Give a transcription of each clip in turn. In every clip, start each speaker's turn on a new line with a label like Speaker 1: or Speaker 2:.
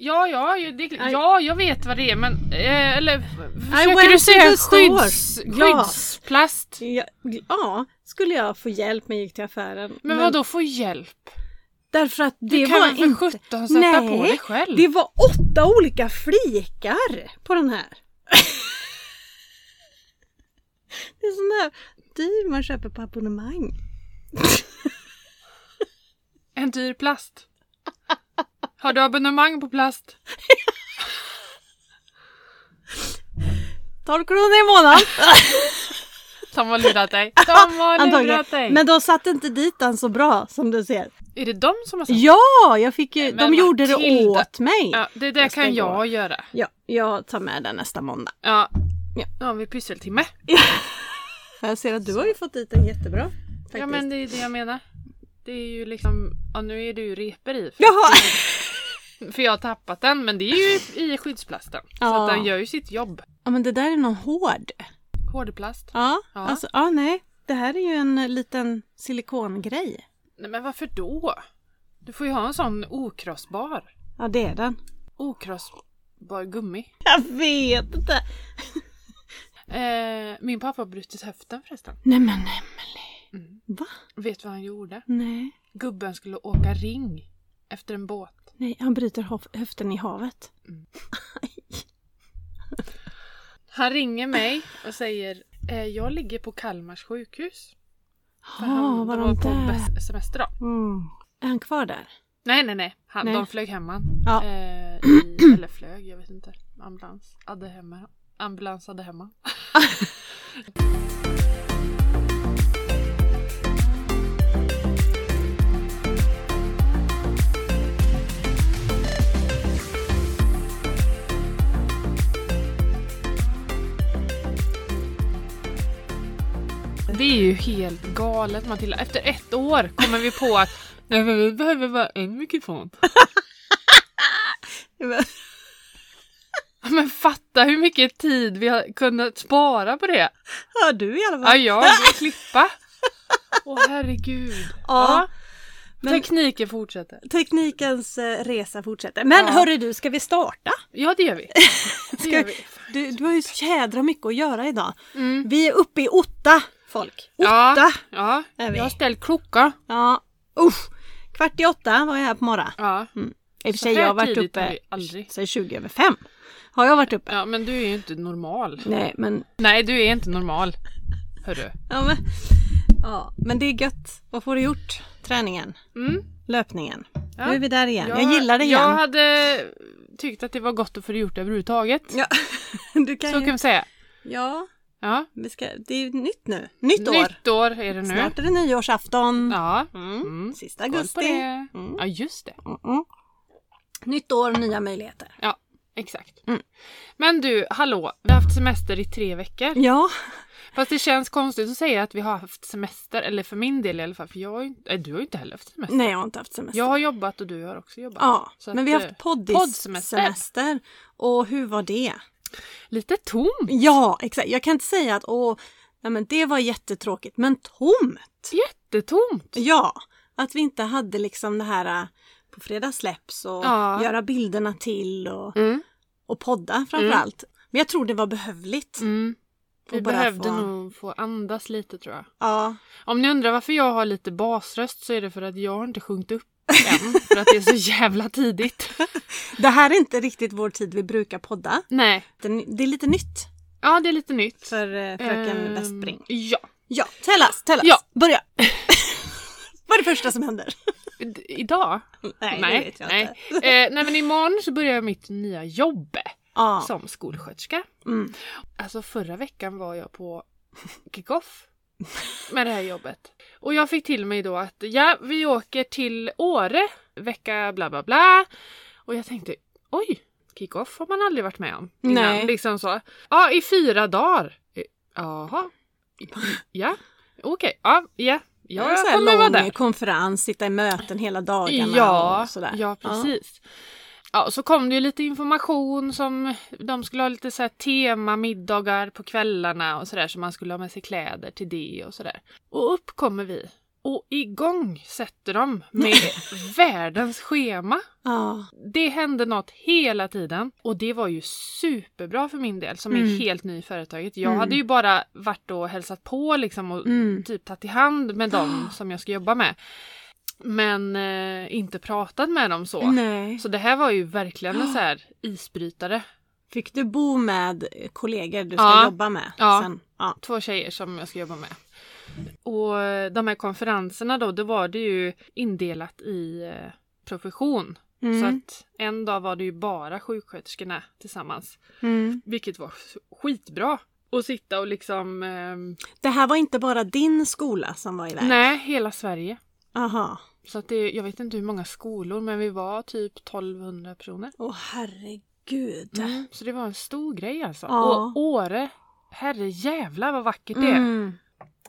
Speaker 1: Ja, ja, ju- det, ja, jag vet vad det är men... Eh, eller
Speaker 2: went
Speaker 1: försöker du
Speaker 2: to the
Speaker 1: säga
Speaker 2: store.
Speaker 1: skydds,
Speaker 2: Ja.
Speaker 1: skyddsplast?
Speaker 2: Ja, ja, skulle jag få hjälp med gick till affären.
Speaker 1: Men, vadå få hjälp?
Speaker 2: Därför att det
Speaker 1: Du kan
Speaker 2: var
Speaker 1: väl för
Speaker 2: inte...
Speaker 1: sjutton sätta
Speaker 2: Nej,
Speaker 1: på dig själv?
Speaker 2: Det var åtta olika flikar på den här. det är sån där dyr man köper på abonnemang.
Speaker 1: En dyr plast. Har du abonnemang på plast?
Speaker 2: 12 kronor i månaden.
Speaker 1: De har lurat dig. De har
Speaker 2: Antagligen.
Speaker 1: lurat dig.
Speaker 2: Men de satte inte dit den så bra som du ser.
Speaker 1: Är det de som har sagt?
Speaker 2: Ja, jag fick ju,
Speaker 1: Men
Speaker 2: de gjorde det
Speaker 1: Matilda.
Speaker 2: åt mig.
Speaker 1: Ja, det där
Speaker 2: Jag ska
Speaker 1: kan
Speaker 2: gå.
Speaker 1: jag göra.
Speaker 2: Ja, jag tar med den nästa måndag.
Speaker 1: Ja.
Speaker 2: Ja.
Speaker 1: Nu har vi pysseltimme.
Speaker 2: Jag ser att du har ju fått dit den jättebra. Faktiskt.
Speaker 1: Ja men det är det jag menar. Det är ju liksom, ja nu är det ju repor i. För,
Speaker 2: Jaha!
Speaker 1: för jag har tappat den men det är ju i skyddsplasten. Så
Speaker 2: Ja.
Speaker 1: att den gör ju sitt jobb.
Speaker 2: Ja men det där är någon hård.
Speaker 1: Hårdplast.
Speaker 2: Ja,
Speaker 1: Ja.
Speaker 2: alltså ja nej. Det här är ju en eh, liten silikongrej.
Speaker 1: Nej men varför då? Du får ju ha en sån okrossbar.
Speaker 2: Ja det är den.
Speaker 1: Okrossbar gummi.
Speaker 2: Jag vet inte.
Speaker 1: Eh, min pappa har brutit höften förresten.
Speaker 2: Nej men Emily.
Speaker 1: Mm.
Speaker 2: Va?
Speaker 1: Vet vad han gjorde?
Speaker 2: Nej.
Speaker 1: Gubben skulle åka ring efter en båt.
Speaker 2: Nej, han bryter hof- höften i havet.
Speaker 1: Han ringer mig och säger eh, Jag ligger på Kalmars sjukhus. För
Speaker 2: Ja, Ah, var
Speaker 1: de
Speaker 2: de
Speaker 1: på
Speaker 2: där?
Speaker 1: bes- semester då.
Speaker 2: Mm. Är han kvar där?
Speaker 1: Nej nej nej. Han,
Speaker 2: Nej.
Speaker 1: De flög hem han.
Speaker 2: Ja.
Speaker 1: Eh, i, eller flög, jag vet inte. Ambulans. Hade hemma. Ambulans hade hemma. Det är ju helt galet Matilda. Efter ett år kommer vi på att nej, men vi behöver bara en mikrofon. Men fatta hur mycket tid vi har kunnat spara på det.
Speaker 2: Hör du i alla
Speaker 1: Ja,
Speaker 2: fall?
Speaker 1: jag vill klippa. Åh herregud.
Speaker 2: Ja, men-
Speaker 1: Tekniken fortsätter.
Speaker 2: Teknikens eh, resa fortsätter. Men
Speaker 1: Ja.
Speaker 2: hörru du, ska vi starta?
Speaker 1: Ja det gör vi. Det gör vi.
Speaker 2: Du, du har ju så jädra mycket att göra idag.
Speaker 1: Mm.
Speaker 2: Vi är uppe i åtta folk.
Speaker 1: Ja.
Speaker 2: Åtta!
Speaker 1: Ja,
Speaker 2: Är vi.
Speaker 1: jag har ställt klocka.
Speaker 2: Ja. Usch! Kvart i åtta var jag här på morgonen.
Speaker 1: Ja.
Speaker 2: I och för
Speaker 1: Så
Speaker 2: sig,
Speaker 1: här
Speaker 2: jag har varit
Speaker 1: tidigt har
Speaker 2: uppe
Speaker 1: vi aldrig.
Speaker 2: sen 20 över fem. Har jag varit uppe?
Speaker 1: ja men du är ju inte normal.
Speaker 2: Nej, men...
Speaker 1: Nej du är inte normal. Hörru.
Speaker 2: Ja, men... Ja, men det är gött. Vad får du gjort? Träningen,
Speaker 1: Mm.
Speaker 2: löpningen.
Speaker 1: Ja.
Speaker 2: Nu är vi där igen. jag gillar det
Speaker 1: Jag
Speaker 2: igen.
Speaker 1: hade tyckt att det var gott att få det gjort överhuvudtaget.
Speaker 2: Ja. Du kan
Speaker 1: Så
Speaker 2: ju...
Speaker 1: kan vi säga.
Speaker 2: Ja,
Speaker 1: Ja.
Speaker 2: vi ska... det är ju nytt nu. Nytt, år.
Speaker 1: Nytt år är det nu.
Speaker 2: Snart är det nyårsafton.
Speaker 1: Ja.
Speaker 2: Mm.
Speaker 1: Mm.
Speaker 2: Sista
Speaker 1: Koll på
Speaker 2: augusti.
Speaker 1: det.
Speaker 2: Mm.
Speaker 1: Ja just det.
Speaker 2: Mm-mm. Nytt år, nya möjligheter.
Speaker 1: Ja, exakt.
Speaker 2: Mm.
Speaker 1: Men du, hallå, vi har haft semester i tre veckor.
Speaker 2: Ja,
Speaker 1: Fast det känns konstigt att säga att vi har haft semester, eller för min del i alla fall, för jag har ju inte, nej, du har ju inte heller haft semester.
Speaker 2: nej jag har inte haft semester.
Speaker 1: Jag har jobbat och du har också jobbat.
Speaker 2: Ja,
Speaker 1: Så
Speaker 2: men
Speaker 1: att,
Speaker 2: vi har
Speaker 1: eh,
Speaker 2: haft poddis-
Speaker 1: poddsemester.
Speaker 2: semester. Och hur var det?
Speaker 1: Lite tom.
Speaker 2: Ja, exakt. Jag kan inte säga att åh, nej, men det var jättetråkigt, men tomt.
Speaker 1: Jättetomt.
Speaker 2: Ja, att vi inte hade liksom det här äh, på fredag släpps och
Speaker 1: Ja.
Speaker 2: göra bilderna till och,
Speaker 1: Mm.
Speaker 2: och podda framför
Speaker 1: Mm.
Speaker 2: allt. Men jag tror det var behövligt.
Speaker 1: Mm. Vi
Speaker 2: Och bara
Speaker 1: behövde
Speaker 2: få-
Speaker 1: nog få andas lite tror jag.
Speaker 2: Ja,
Speaker 1: Om ni undrar varför jag har lite basröst så är det för att jag har inte sjungit upp än. för att det är så jävla tidigt.
Speaker 2: det här är inte riktigt vår tid vi brukar podda.
Speaker 1: Nej.
Speaker 2: Det är, det är lite nytt
Speaker 1: Ja, det är lite nytt.
Speaker 2: för äh, fröken
Speaker 1: Ehm,
Speaker 2: Westbring.
Speaker 1: Ja.
Speaker 2: Ja, tell us, tell us.
Speaker 1: Ja.
Speaker 2: Börja! Vad är det första som händer?
Speaker 1: I- Idag
Speaker 2: Nej, det vet jag inte.
Speaker 1: nej. Eh, nej men imorgon så börjar jag mitt nya jobb
Speaker 2: Ja.
Speaker 1: som skolsköterska.
Speaker 2: Mm.
Speaker 1: Alltså förra veckan var jag på kickoff med det här jobbet. Och jag fick till mig då att ja, vi åker till Åre vecka bla bla bla. Och jag tänkte oj, kickoff har man aldrig varit med om innan.
Speaker 2: Nej.
Speaker 1: Liksom så. Ja, i fyra dagar. Eh, Jaha. Ja, okej. Ja, ja.
Speaker 2: det är
Speaker 1: Jag
Speaker 2: så här
Speaker 1: kommer vara där.
Speaker 2: lång konferens, sitta i möten hela dagarna
Speaker 1: Ja,
Speaker 2: och sådär.
Speaker 1: ja precis. Ja. och så kom det ju lite information som de skulle ha lite så här temamiddagar på kvällarna och sådär så man skulle ha med sig kläder till det och sådär. Och upp kommer vi Och igång sätter de med världens schema.
Speaker 2: Ja.
Speaker 1: Det hände något hela tiden och det var ju superbra för min del som
Speaker 2: Mm.
Speaker 1: är helt ny i företaget. Jag
Speaker 2: Mm.
Speaker 1: hade ju bara varit och hälsat på liksom och
Speaker 2: Mm. Ah.
Speaker 1: typ tagit i hand med dem som jag ska jobba med. Men eh, inte pratat med dem så.
Speaker 2: Nej. Ah.
Speaker 1: Så det här var ju verkligen en så här isbrytare.
Speaker 2: Fick du bo med kollegor du ska
Speaker 1: Ja.
Speaker 2: jobba med
Speaker 1: Ja.
Speaker 2: sen? Ja.
Speaker 1: två tjejer som jag ska jobba med. Och eh, de här konferenserna då, då var det ju indelat i eh, profession.
Speaker 2: Mm.
Speaker 1: Så att en dag var det ju bara sjuksköterskorna tillsammans.
Speaker 2: Mm.
Speaker 1: Vilket var s- skitbra. Och sitta och liksom... ehm,
Speaker 2: Det här var inte bara din skola som var iväg?
Speaker 1: nej, hela Sverige.
Speaker 2: Aha.
Speaker 1: Så att det, jag vet inte hur många skolor men vi var typ 1200 personer. Mm,
Speaker 2: Åh herregud.
Speaker 1: Så det var en stor grej alltså.
Speaker 2: Äh. Ja.
Speaker 1: Och Åre, herre jävlar vad vackert det är.
Speaker 2: Mm.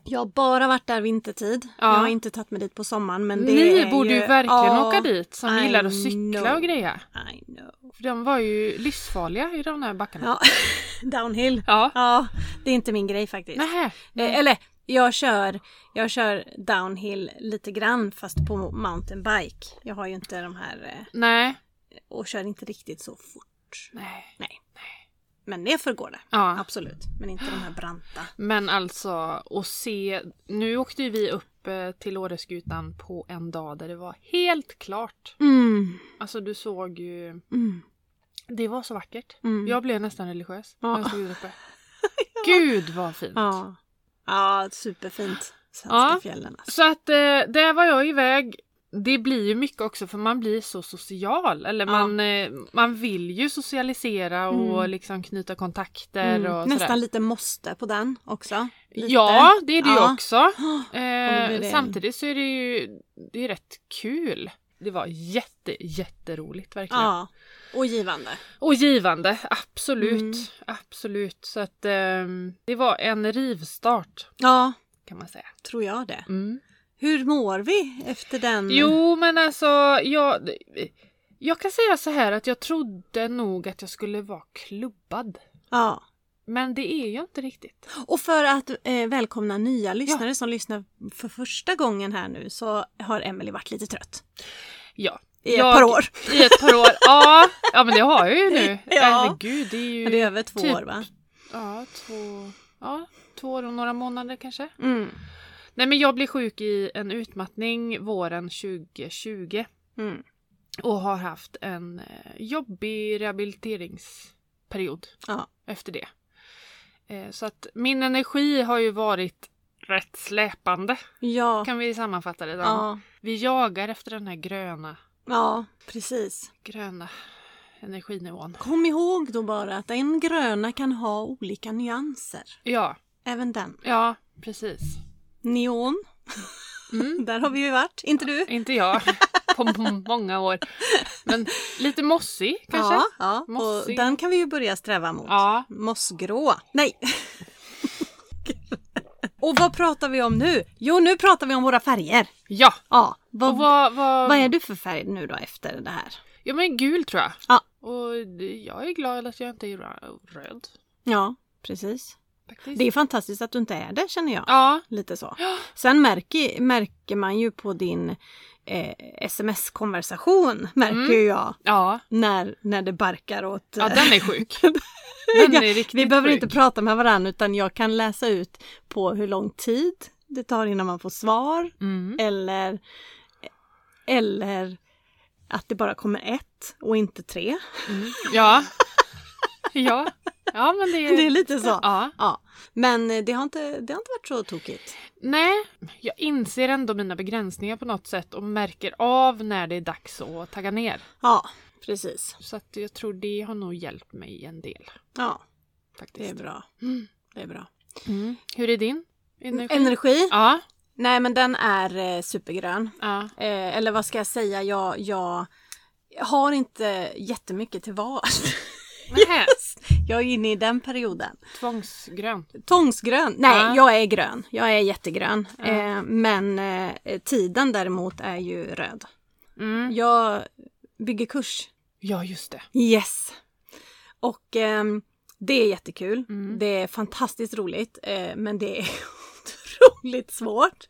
Speaker 2: Jag har bara varit där vintertid.
Speaker 1: Ja.
Speaker 2: Jag har inte tagit mig dit på sommaren men det
Speaker 1: Ni
Speaker 2: är
Speaker 1: borde ju verkligen
Speaker 2: Ja,
Speaker 1: åka dit som
Speaker 2: I
Speaker 1: gillar att cykla
Speaker 2: know.
Speaker 1: och grejer.
Speaker 2: I know.
Speaker 1: För de var ju livsfarliga i de där backarna.
Speaker 2: Ja. Downhill.
Speaker 1: Ja.
Speaker 2: Ja, det är inte min grej faktiskt.
Speaker 1: Nähä.
Speaker 2: Eh, Eller jag kör, jag kör downhill lite grann fast på mountainbike. Jag har ju inte de här eh,
Speaker 1: Nej.
Speaker 2: och kör inte riktigt så fort.
Speaker 1: Nej.
Speaker 2: Nej. Men det förgår det.
Speaker 1: Ja.
Speaker 2: Absolut. Men inte de här branta.
Speaker 1: Men alltså att se. Nu åkte ju vi upp eh, till Åreskutan på en dag där det var helt klart.
Speaker 2: Mm.
Speaker 1: Alltså du såg ju.
Speaker 2: Mm.
Speaker 1: Det var så vackert.
Speaker 2: Mm.
Speaker 1: Jag blev nästan religiös när
Speaker 2: Ja.
Speaker 1: jag stod där uppe. Gud vad fint.
Speaker 2: Ja. ja, superfint. Svenska
Speaker 1: Ja.
Speaker 2: fjällen alltså.
Speaker 1: Så att eh, där var jag iväg. Det blir ju mycket också för man blir så social. Eller
Speaker 2: Ja.
Speaker 1: man, eh, man vill ju socialisera och
Speaker 2: Mm.
Speaker 1: liksom knyta kontakter
Speaker 2: Mm.
Speaker 1: och sådär.
Speaker 2: Nästan lite måste på den också. Lite.
Speaker 1: Ja, det är det
Speaker 2: Ja.
Speaker 1: ju också.
Speaker 2: det blir
Speaker 1: Eh,
Speaker 2: det.
Speaker 1: samtidigt så är det ju det är rätt kul. Det var jätte, jätteroligt verkligen.
Speaker 2: Ja, och givande.
Speaker 1: Och givande, absolut.
Speaker 2: Mm.
Speaker 1: Absolut. Så att ehm, det var en rivstart
Speaker 2: Ja,
Speaker 1: kan man säga.
Speaker 2: tror jag det.
Speaker 1: Mm.
Speaker 2: Hur mår vi efter den?
Speaker 1: Jo, men alltså jag, jag kan säga så här att jag trodde nog att jag skulle vara klubbad.
Speaker 2: Ja.
Speaker 1: Men det är jag inte riktigt.
Speaker 2: Och för att eh, välkomna nya lyssnare som lyssnar för första gången här nu så har Emelie varit lite trött.
Speaker 1: Ja.
Speaker 2: I
Speaker 1: Jag-
Speaker 2: ett par år.
Speaker 1: I ett par år. Ja, ja men det har jag ju nu.
Speaker 2: Ja.
Speaker 1: Herregud, det är ju...
Speaker 2: Men det är över två
Speaker 1: typ-
Speaker 2: år va?
Speaker 1: Ja, två... Ja, två år och några månader kanske.
Speaker 2: Mm.
Speaker 1: Nej men jag blev sjuk i en utmattning våren 2020
Speaker 2: Mm.
Speaker 1: och har haft en eh, jobbig rehabiliteringsperiod
Speaker 2: Ja.
Speaker 1: efter det. Eh, Så att min energi har ju varit rätt släpande
Speaker 2: Ja.
Speaker 1: kan vi sammanfatta det som.
Speaker 2: ja.
Speaker 1: Vi jagar efter den här gröna,
Speaker 2: Ja, precis.
Speaker 1: gröna energinivån.
Speaker 2: Kom ihåg då bara att en gröna kan ha olika nyanser.
Speaker 1: Ja,
Speaker 2: Även den.
Speaker 1: ja precis.
Speaker 2: Neon.
Speaker 1: Mm.
Speaker 2: Där har vi ju varit. Inte du?
Speaker 1: Inte jag på m- många år. Men lite mossig kanske?
Speaker 2: Ja, ja. och
Speaker 1: Mossig.
Speaker 2: den kan vi ju börja sträva mot.
Speaker 1: Ja.
Speaker 2: Mossgrå. Nej! och vad pratar vi om nu? Jo, nu pratar vi om våra färger.
Speaker 1: Ja.
Speaker 2: Ja, vad,
Speaker 1: Och vad, vad,
Speaker 2: vad är du för färg nu då efter det här?
Speaker 1: Ja men gul tror jag.
Speaker 2: Ja.
Speaker 1: Och det- jag är glad att jag inte är ra- röd.
Speaker 2: Ja, precis.
Speaker 1: Faktiskt.
Speaker 2: Det är fantastiskt att du inte är det känner jag.
Speaker 1: Ja.
Speaker 2: Lite så. Sen märker, märker man ju på din eh, sms-konversation, märker
Speaker 1: Mm.
Speaker 2: ju jag,
Speaker 1: Ja.
Speaker 2: när, när det barkar åt... eh,
Speaker 1: Ja den är sjuk. Den är riktigt
Speaker 2: Vi behöver
Speaker 1: sjuk.
Speaker 2: inte prata med varandra utan jag kan läsa ut på hur lång tid det tar innan man får svar
Speaker 1: Mm.
Speaker 2: eller, eller att det bara kommer ett och inte tre.
Speaker 1: Mm. Ja. Ja. Ja men det är...
Speaker 2: Det är lite så.
Speaker 1: Ja.
Speaker 2: Ja. Men eh, det har, inte, det har inte varit så tokigt.
Speaker 1: Nej. Jag inser ändå mina begränsningar på något sätt och märker av när det är dags att tagga ner.
Speaker 2: Ja, precis.
Speaker 1: Så att jag tror det har nog hjälpt mig en del.
Speaker 2: Ja, det är
Speaker 1: Faktiskt.
Speaker 2: bra. Det är bra.
Speaker 1: Mm. Hur är din
Speaker 2: Mm.
Speaker 1: energi?
Speaker 2: Energi?
Speaker 1: Ja.
Speaker 2: Nej men den är eh, supergrön.
Speaker 1: Ja.
Speaker 2: Eh, eller vad ska jag säga, jag, jag har inte jättemycket till vars.
Speaker 1: Nähä.
Speaker 2: Jag är inne i den perioden.
Speaker 1: Tvångsgrön.
Speaker 2: Tångsgrön. Nej,
Speaker 1: Ja.
Speaker 2: jag är grön. Jag är jättegrön.
Speaker 1: Ja.
Speaker 2: Eh, men eh, tiden däremot är ju röd.
Speaker 1: Mm.
Speaker 2: Jag bygger kurs.
Speaker 1: Ja just det.
Speaker 2: Yes! Och ehm, det är jättekul.
Speaker 1: Mm.
Speaker 2: Det är fantastiskt roligt. Eh, men det är otroligt svårt.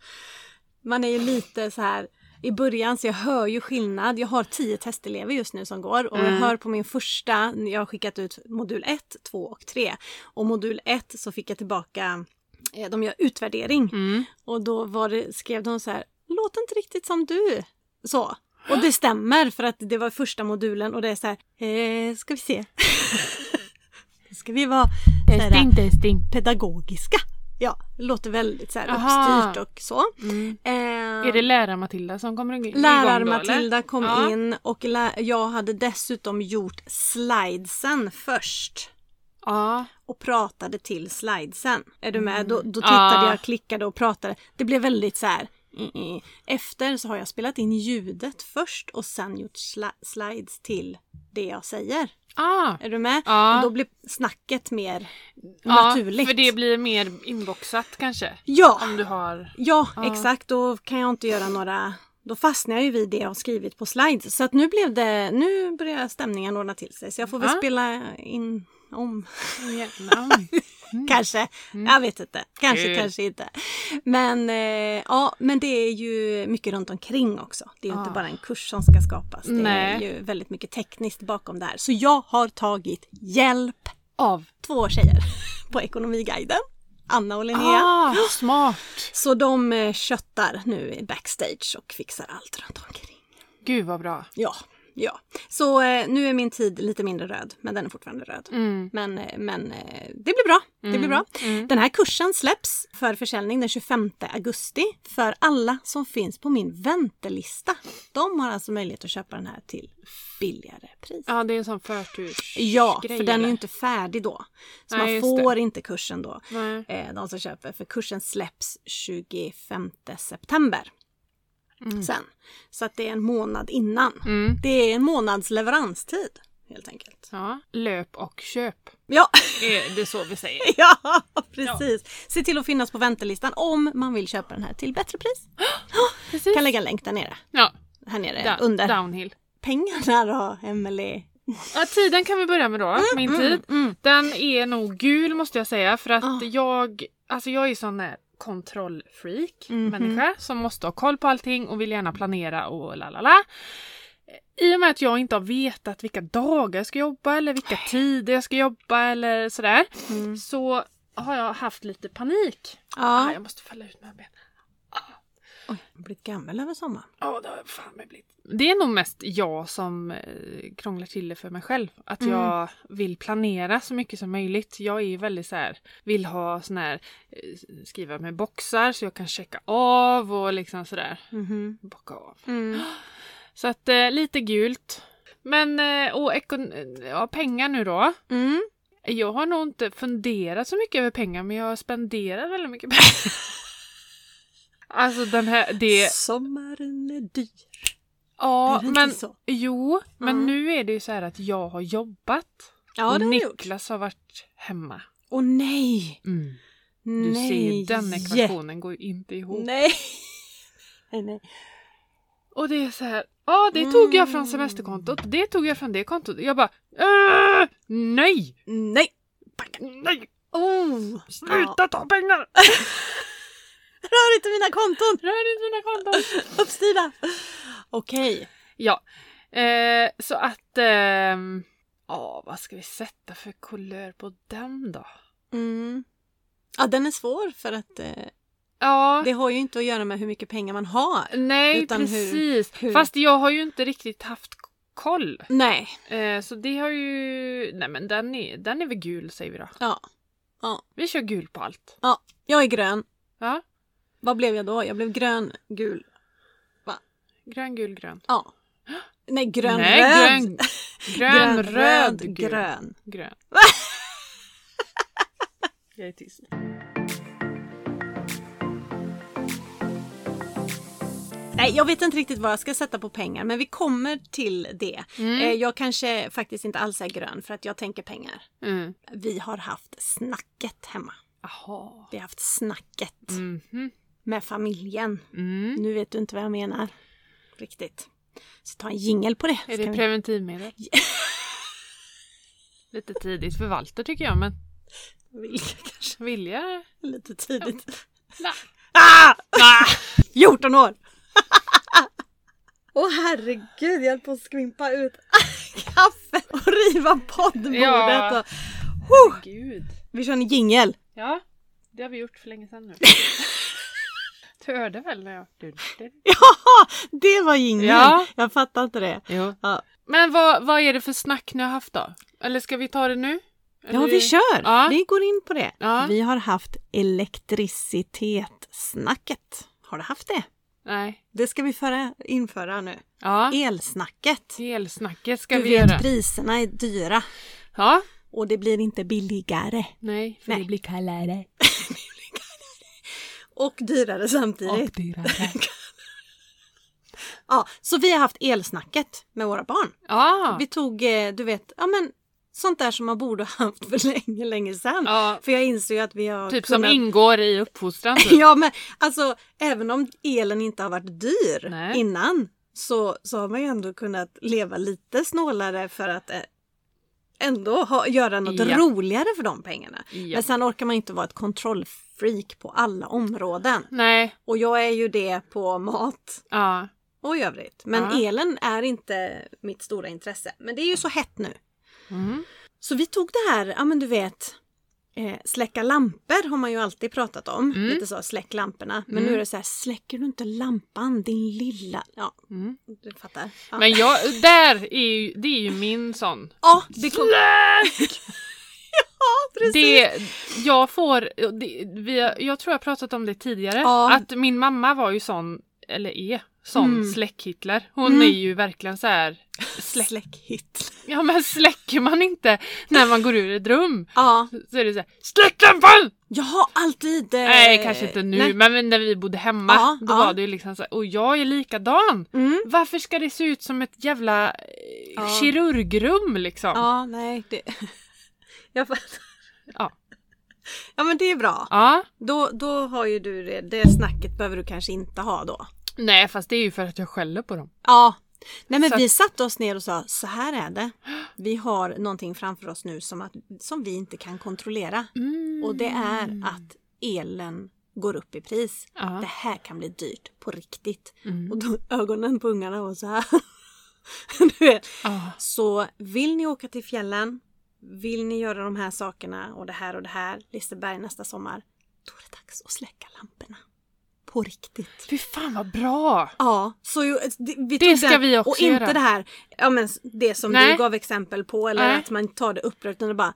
Speaker 2: Man är ju lite så här i början så jag hör ju skillnad. Jag har tio testelever just nu som går och jag
Speaker 1: Mm.
Speaker 2: hör på min första, jag har skickat ut modul 1, 2 och 3. Och modul 1 så fick jag tillbaka, eh, de gör utvärdering
Speaker 1: Mm.
Speaker 2: och då var det, skrev de så här, låt inte riktigt som du. Så. Och det stämmer för att det var första modulen och det är så här, eh, ska vi se. Nu ska vi vara så här,
Speaker 1: Testing, testing.
Speaker 2: pedagogiska. Ja, det låter väldigt så här
Speaker 1: Aha.
Speaker 2: uppstyrt och så.
Speaker 1: Mm.
Speaker 2: Eh,
Speaker 1: Är det lärar-Matilda som kommer igång då? eller?
Speaker 2: Lärar-Matilda kom
Speaker 1: Ja.
Speaker 2: in och lä- jag hade dessutom gjort slidesen först
Speaker 1: Ja.
Speaker 2: och pratade till slidesen. Är du med?
Speaker 1: Mm.
Speaker 2: Då, då tittade
Speaker 1: Ja.
Speaker 2: jag, klickade och pratade. Det blev väldigt så här. "Mm-mm." Efter så har jag spelat in ljudet först och sen gjort sli- slides till det jag säger.
Speaker 1: Ah.
Speaker 2: Är du med?
Speaker 1: Ja.
Speaker 2: Och då blir snacket mer
Speaker 1: Ja,
Speaker 2: naturligt.
Speaker 1: för det Ah. blir mer inboxat kanske.
Speaker 2: Ja!
Speaker 1: Om du har...
Speaker 2: Ja,
Speaker 1: Ja.
Speaker 2: exakt. Då kan jag inte göra några... Då fastnar jag ju vid det jag har skrivit på slides. Så att nu blev det... Nu börjar stämningen ordna till sig. Så jag får väl
Speaker 1: Ja.
Speaker 2: spela in om.
Speaker 1: Mm.
Speaker 2: Kanske. Jag vet inte. Kanske,
Speaker 1: Kul.
Speaker 2: kanske inte. Men, eh, ja, men det är ju mycket runt omkring också. Det är ju inte
Speaker 1: Ja.
Speaker 2: bara en kurs som ska skapas. Det är
Speaker 1: Nej.
Speaker 2: ju väldigt mycket tekniskt bakom det här. Så jag har tagit hjälp
Speaker 1: Av.
Speaker 2: två tjejer på Ekonomiguiden. Anna och Linnea.
Speaker 1: Ah, smart!
Speaker 2: Så de eh, köttar nu i backstage och fixar allt runt omkring.
Speaker 1: Gud vad bra.
Speaker 2: Ja, ja. Så eh, nu är min tid lite mindre röd, men den är fortfarande röd.
Speaker 1: Mm.
Speaker 2: Men, eh, men eh, det blir bra. Det blir
Speaker 1: Mm.
Speaker 2: bra.
Speaker 1: Mm.
Speaker 2: Den här kursen släpps för försäljning den 25 augusti för alla som finns på min väntelista. De har alltså möjlighet att köpa den här till billigare pris.
Speaker 1: Ja, det är en sån förturs...
Speaker 2: Ja,
Speaker 1: grej,
Speaker 2: för den är
Speaker 1: eller?
Speaker 2: ju inte färdig då. Så
Speaker 1: Nej,
Speaker 2: man
Speaker 1: just det.
Speaker 2: får inte kursen då
Speaker 1: Nej.
Speaker 2: eh, de som köper. För kursen släpps 25 september.
Speaker 1: Mm.
Speaker 2: Sen. Så att det är en månad innan.
Speaker 1: Mm.
Speaker 2: Det är en månads leveranstid helt enkelt.
Speaker 1: Ja. Löp och köp.
Speaker 2: Ja,
Speaker 1: Är det så vi säger?
Speaker 2: ja precis. Se till att finnas på väntelistan om man vill köpa den här till bättre pris.
Speaker 1: Precis.
Speaker 2: kan lägga en länk där nere.
Speaker 1: Ja,
Speaker 2: Här nere
Speaker 1: da-
Speaker 2: eh, under.
Speaker 1: downhill.
Speaker 2: Pengarna då, Emelie?
Speaker 1: Ja, tiden kan vi börja med då, min tid.
Speaker 2: mm.
Speaker 1: Den är nog gul måste jag säga för att
Speaker 2: Ah.
Speaker 1: jag, alltså jag är sån här kontrollfreak
Speaker 2: Mhm.
Speaker 1: människa som måste ha koll på allting och vill gärna planera och la la la. I och med att jag inte har vetat vilka dagar jag ska jobba eller vilka tider jag ska jobba eller sådär
Speaker 2: Mm.
Speaker 1: så har jag haft lite panik. Ah,
Speaker 2: Ja.
Speaker 1: jag måste falla ut med benen.
Speaker 2: Oj, jag har blivit gammal över sommaren.
Speaker 1: Ja, det har jag fan mig blivit. Det är nog mest jag som eh, krånglar till det för mig själv. Att
Speaker 2: Mm.
Speaker 1: jag vill planera så mycket som möjligt. Jag är ju väldigt så här, vill ha sån här, eh, skriva med boxar så jag kan checka av och liksom sådär,
Speaker 2: Mhm.
Speaker 1: bocka av.
Speaker 2: Mm.
Speaker 1: Så att eh, lite gult. Men, eh, och ekon- eh, ja, pengar nu då.
Speaker 2: Mm.
Speaker 1: Jag har nog inte funderat så mycket över pengar men jag spenderar väldigt mycket pengar. alltså den här, det...
Speaker 2: Sommaren är dyr.
Speaker 1: Ja,
Speaker 2: är det inte
Speaker 1: men
Speaker 2: så?
Speaker 1: Jo, men
Speaker 2: Mm.
Speaker 1: nu är det ju så här att jag har jobbat.
Speaker 2: Ja,
Speaker 1: och
Speaker 2: det har jag gjort.
Speaker 1: Niklas har varit hemma.
Speaker 2: Åh nej!
Speaker 1: Du
Speaker 2: Mm. nej.
Speaker 1: ser ju, den ekvationen går ju inte ihop.
Speaker 2: Nej! nej, nej.
Speaker 1: Och det är så här, ja det tog jag från
Speaker 2: Mm.
Speaker 1: semesterkontot, det tog jag från det kontot. Jag bara, "Äh, nej!
Speaker 2: Nej!
Speaker 1: Nej!
Speaker 2: Oh!
Speaker 1: Sluta ta pengar!
Speaker 2: Rör inte mina konton!
Speaker 1: Rör inte mina konton!
Speaker 2: Uppstyrda! Okej.
Speaker 1: Ja, eh, så att... ehm, Ja, vad ska vi sätta för kulör på den då?
Speaker 2: Mm. Ja, den är svår för att eh,
Speaker 1: Ja,
Speaker 2: det har ju inte att göra med hur mycket pengar man har.
Speaker 1: nej
Speaker 2: utan hur-
Speaker 1: precis.
Speaker 2: hur-
Speaker 1: Fast jag har ju inte riktigt haft k- koll.
Speaker 2: Nej.
Speaker 1: Eh, så det har ju... Nej men den är, den är väl gul säger vi då.
Speaker 2: Ja.
Speaker 1: Vi kör gul på allt.
Speaker 2: ja. Jag är grön.
Speaker 1: Ja.
Speaker 2: Vad blev jag då? Jag blev grön, gul.
Speaker 1: Grön, gul, grön.
Speaker 2: Ja. Nej, grön,
Speaker 1: Nej,
Speaker 2: röd.
Speaker 1: grön, grön, röd, gul, grön.
Speaker 2: grön.
Speaker 1: jag är tyst.
Speaker 2: Nej, jag vet inte riktigt vad jag ska sätta på pengar, men vi kommer till det.
Speaker 1: Mm.
Speaker 2: Eh, jag kanske faktiskt inte alls är grön för att jag tänker pengar.
Speaker 1: Mm.
Speaker 2: Vi har haft snacket hemma.
Speaker 1: Jaha.
Speaker 2: Vi har haft snacket
Speaker 1: Mhm.
Speaker 2: med familjen.
Speaker 1: Mm.
Speaker 2: Nu vet du inte vad jag menar. Riktigt. Så ta en jingel på det.
Speaker 1: Är
Speaker 2: Ska
Speaker 1: det
Speaker 2: vi-
Speaker 1: preventivmedel? Lite tidigt för Walter tycker jag men
Speaker 2: Vilka kanske
Speaker 1: vilja...
Speaker 2: lite tidigt.
Speaker 1: Ja.
Speaker 2: Ah! 14 år! Åh herregud, jag höll på att skvimpa ut kaffe och riva poddbordet.
Speaker 1: Ja.
Speaker 2: Och, Huh!
Speaker 1: Gud.
Speaker 2: Vi kör en jingel.
Speaker 1: Ja, det har vi gjort för länge sedan nu. Du hörde väl när jag... Du, du.
Speaker 2: Jaha, det var jingeln.
Speaker 1: Ja.
Speaker 2: Jag fattar inte det.
Speaker 1: Jo.
Speaker 2: Ja.
Speaker 1: Men vad, vad är det för snack ni har haft då? Eller ska vi ta det nu?
Speaker 2: Ja,
Speaker 1: Eller-
Speaker 2: vi kör.
Speaker 1: Ja.
Speaker 2: Vi går in på det.
Speaker 1: Ja.
Speaker 2: Vi har haft elektricitetssnacket. Har du haft det?
Speaker 1: Nej.
Speaker 2: Det ska vi föra, införa nu.
Speaker 1: Ja.
Speaker 2: Elsnacket.
Speaker 1: Elsnacket ska
Speaker 2: Du
Speaker 1: vi
Speaker 2: vet,
Speaker 1: göra.
Speaker 2: priserna är dyra
Speaker 1: Ja.
Speaker 2: och det blir inte billigare.
Speaker 1: Nej, för
Speaker 2: Nej.
Speaker 1: det blir kallare.
Speaker 2: Och dyrare samtidigt.
Speaker 1: dyrare.
Speaker 2: Ja, så vi har haft elsnacket med våra barn.
Speaker 1: Ja.
Speaker 2: Vi tog, eh, du vet, ja men sånt där som man borde ha haft för länge, länge sedan.
Speaker 1: ja.
Speaker 2: För jag inser ju att vi har
Speaker 1: Typ som
Speaker 2: kunnat...
Speaker 1: ingår i uppfostran. Typ.
Speaker 2: Ja men alltså även om elen inte har varit dyr
Speaker 1: Nej.
Speaker 2: innan så, så har man ju ändå kunnat leva lite snålare för att eh, ändå ha, göra något
Speaker 1: Ja.
Speaker 2: roligare för de pengarna.
Speaker 1: Ja.
Speaker 2: Men sen orkar man inte vara ett kontrollfreak på alla områden.
Speaker 1: Nej.
Speaker 2: Och jag är ju det på mat
Speaker 1: Ja.
Speaker 2: och i övrigt. Men
Speaker 1: Ja.
Speaker 2: elen är inte mitt stora intresse. Men det är ju så hett nu.
Speaker 1: Mm.
Speaker 2: Så vi tog det här, ja men du vet, eh, släcka lampor har man ju alltid pratat om.
Speaker 1: Mm.
Speaker 2: Lite så, släck lamporna. Men
Speaker 1: Mm.
Speaker 2: nu är det så här, släcker du inte lampan din lilla... Ja,
Speaker 1: Mm.
Speaker 2: du fattar. Ja,
Speaker 1: Men jag, där är ju, det är ju min sån.
Speaker 2: ja det kom... Ja, precis!
Speaker 1: Det, jag får, det, vi, har- jag tror jag pratat om det tidigare,
Speaker 2: Ja.
Speaker 1: att min mamma var ju sån, eller är, sån
Speaker 2: Mm.
Speaker 1: släck-Hitler. Hon
Speaker 2: Mm.
Speaker 1: är ju verkligen så här.
Speaker 2: Släck. släck Hitler.
Speaker 1: ja men släcker man inte när man går ur ett rum
Speaker 2: Ja,
Speaker 1: så är det så här, släck lampan!
Speaker 2: jag har alltid... eh,
Speaker 1: Nej kanske inte nu
Speaker 2: nej.
Speaker 1: men när vi bodde hemma
Speaker 2: Ja,
Speaker 1: då
Speaker 2: ja.
Speaker 1: var det ju liksom så här, och jag är likadan!
Speaker 2: Mm.
Speaker 1: Varför ska det se ut som ett jävla eh,
Speaker 2: Ja.
Speaker 1: kirurgrum liksom? Ja.
Speaker 2: Ja, nej. Det... Jag fattar.
Speaker 1: Ja.
Speaker 2: Ja, men det är bra. Då, då har ju du det. Det snacket behöver du kanske inte ha då.
Speaker 1: Nej fast det är ju för att jag skäller på dem.
Speaker 2: Ja. Nej men
Speaker 1: Så att-
Speaker 2: vi satte oss ner och sa så här är det. Vi har någonting framför oss nu som, att, som vi inte kan kontrollera. Och det är att elen går upp i pris.
Speaker 1: Ja.
Speaker 2: Det här kan bli dyrt på riktigt.
Speaker 1: Mm.
Speaker 2: Och då, ögonen på ungarna var så här. du vet.
Speaker 1: Ja.
Speaker 2: Så vill ni åka till fjällen, vill ni göra de här sakerna och det här och det här, Liseberg nästa sommar, då är det dags att släcka lamporna. På riktigt.
Speaker 1: Fy fan vad bra!
Speaker 2: Ja, så ju, det, vi
Speaker 1: Det
Speaker 2: tog
Speaker 1: ska
Speaker 2: den,
Speaker 1: vi också
Speaker 2: Och inte
Speaker 1: göra.
Speaker 2: det här, ja men det som
Speaker 1: Nej.
Speaker 2: du gav exempel på eller
Speaker 1: Nej.
Speaker 2: att man tar det upprört utan det bara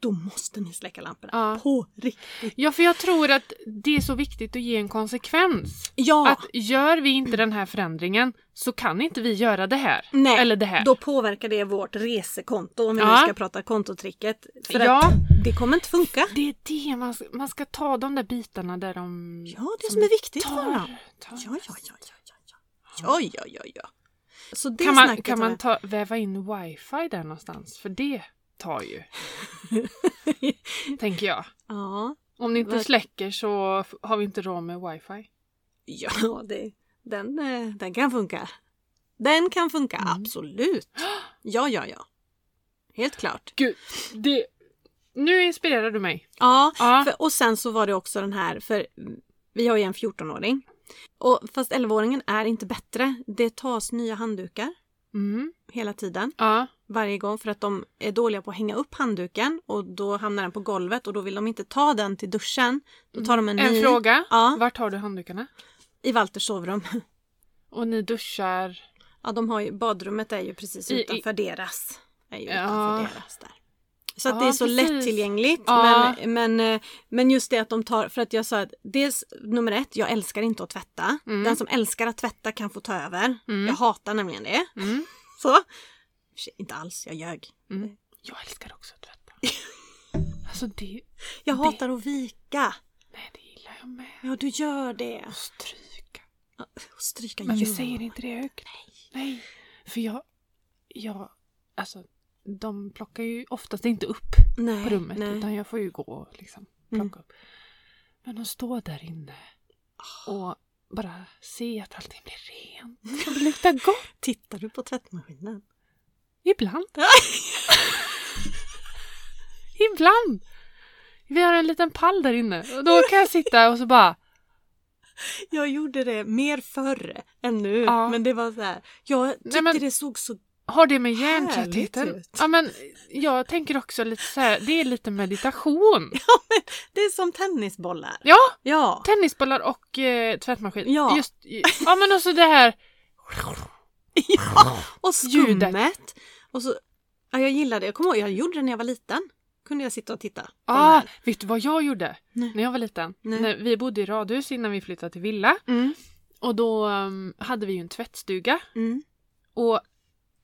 Speaker 2: då måste ni släcka lamporna.
Speaker 1: Ja.
Speaker 2: På riktigt.
Speaker 1: Ja för jag tror att det är så viktigt att ge en konsekvens.
Speaker 2: Ja,
Speaker 1: Att gör vi inte den här förändringen så kan inte vi göra det här.
Speaker 2: nej.
Speaker 1: Eller det här.
Speaker 2: Då påverkar det vårt resekonto om vi
Speaker 1: Ja.
Speaker 2: nu ska prata kontotricket. För
Speaker 1: Ja.
Speaker 2: att det kommer inte funka.
Speaker 1: Det är det man ska, man ska ta de där bitarna där de...
Speaker 2: Ja, det som är viktigt för
Speaker 1: tar,
Speaker 2: dem.
Speaker 1: tar.
Speaker 2: Ja, ja, ja, ja, ja, ja. Ja, ja, ja, ja. Så det
Speaker 1: Kan man,
Speaker 2: snacket
Speaker 1: kan
Speaker 2: har
Speaker 1: man
Speaker 2: jag-
Speaker 1: ta, väva in wifi där någonstans? För det tar ju. Tänker jag.
Speaker 2: Ja.
Speaker 1: Om ni inte
Speaker 2: Verk-
Speaker 1: släcker så f- har vi inte råd med wifi.
Speaker 2: Ja, det, den, eh, den kan funka. Den kan funka,
Speaker 1: Mm.
Speaker 2: absolut. Ja, ja, ja. Helt klart.
Speaker 1: Gud, det... Nu inspirerar du mig.
Speaker 2: Ja,
Speaker 1: Ja.
Speaker 2: För, och sen så var det också den här, för vi har ju en 14-åring. Och fast 11-åringen är inte bättre. Det tas nya handdukar
Speaker 1: Mm.
Speaker 2: hela tiden,
Speaker 1: Ja.
Speaker 2: varje gång, för att de är dåliga på att hänga upp handduken och då hamnar den på golvet och då vill de inte ta den till duschen. Då tar de en,
Speaker 1: Mm. En
Speaker 2: ny
Speaker 1: fråga.
Speaker 2: Ja.
Speaker 1: Vart har du handdukarna?
Speaker 2: i Walters sovrum.
Speaker 1: Och ni duschar?
Speaker 2: Ja, de har ju, badrummet är ju precis
Speaker 1: I- i-
Speaker 2: utanför deras. Är ju
Speaker 1: Ja.
Speaker 2: utanför deras där. Så att
Speaker 1: Ja,
Speaker 2: det är så
Speaker 1: precis.
Speaker 2: lättillgängligt.
Speaker 1: Ja.
Speaker 2: Men, men, eh, men just det att de tar, för att jag sa att dels nummer ett, jag älskar inte att tvätta.
Speaker 1: Mm.
Speaker 2: Den som älskar att tvätta kan få ta över.
Speaker 1: Mm.
Speaker 2: Jag hatar nämligen det.
Speaker 1: Mm.
Speaker 2: Så. Shit, Inte alls, jag ljög.
Speaker 1: Mm. Jag älskar också att tvätta. Alltså det...
Speaker 2: Jag
Speaker 1: Det-
Speaker 2: hatar att vika.
Speaker 1: Nej, det gillar jag med.
Speaker 2: Ja, du gör det.
Speaker 1: Och stryka.
Speaker 2: Och stryka
Speaker 1: Men vi
Speaker 2: gör.
Speaker 1: säger inte det högt. Nej. Nej. För jag... Jag... Alltså, de plockar ju oftast inte upp
Speaker 2: nej,
Speaker 1: på rummet.
Speaker 2: Nej.
Speaker 1: Utan jag får ju gå och liksom plocka
Speaker 2: Mm.
Speaker 1: upp. Men de står där inne och bara se att allting blir rent. Och det luktar gott.
Speaker 2: Tittar du på tvättmaskinen?
Speaker 1: Ibland. Ibland. Vi har en liten pall där inne. Och då kan jag sitta och så bara...
Speaker 2: Jag gjorde det mer förr än nu.
Speaker 1: Ja.
Speaker 2: Men det var så här. Jag tyckte
Speaker 1: men-
Speaker 2: det såg så...
Speaker 1: Har det med
Speaker 2: Härligt
Speaker 1: hjärntröttheten?
Speaker 2: ut.
Speaker 1: Ja men jag tänker också lite så här, det är lite meditation.
Speaker 2: Det är som tennisbollar.
Speaker 1: Ja,
Speaker 2: Ja.
Speaker 1: tennisbollar och eh, tvättmaskin.
Speaker 2: Ja.
Speaker 1: Just, ja men också det här
Speaker 2: ja. Och
Speaker 1: Ljudet.
Speaker 2: skummet. Och så... Ja, jag gillade det. Jag kommer ihåg, jag gjorde det när jag var liten. Kunde jag sitta och titta. på de
Speaker 1: Ah,
Speaker 2: här.
Speaker 1: vet du vad jag gjorde
Speaker 2: Nej.
Speaker 1: när jag var liten?
Speaker 2: Nej.
Speaker 1: När vi bodde i radhus innan vi flyttade till villa
Speaker 2: Mm.
Speaker 1: och då ehm, hade vi ju en tvättstuga
Speaker 2: Mm.
Speaker 1: och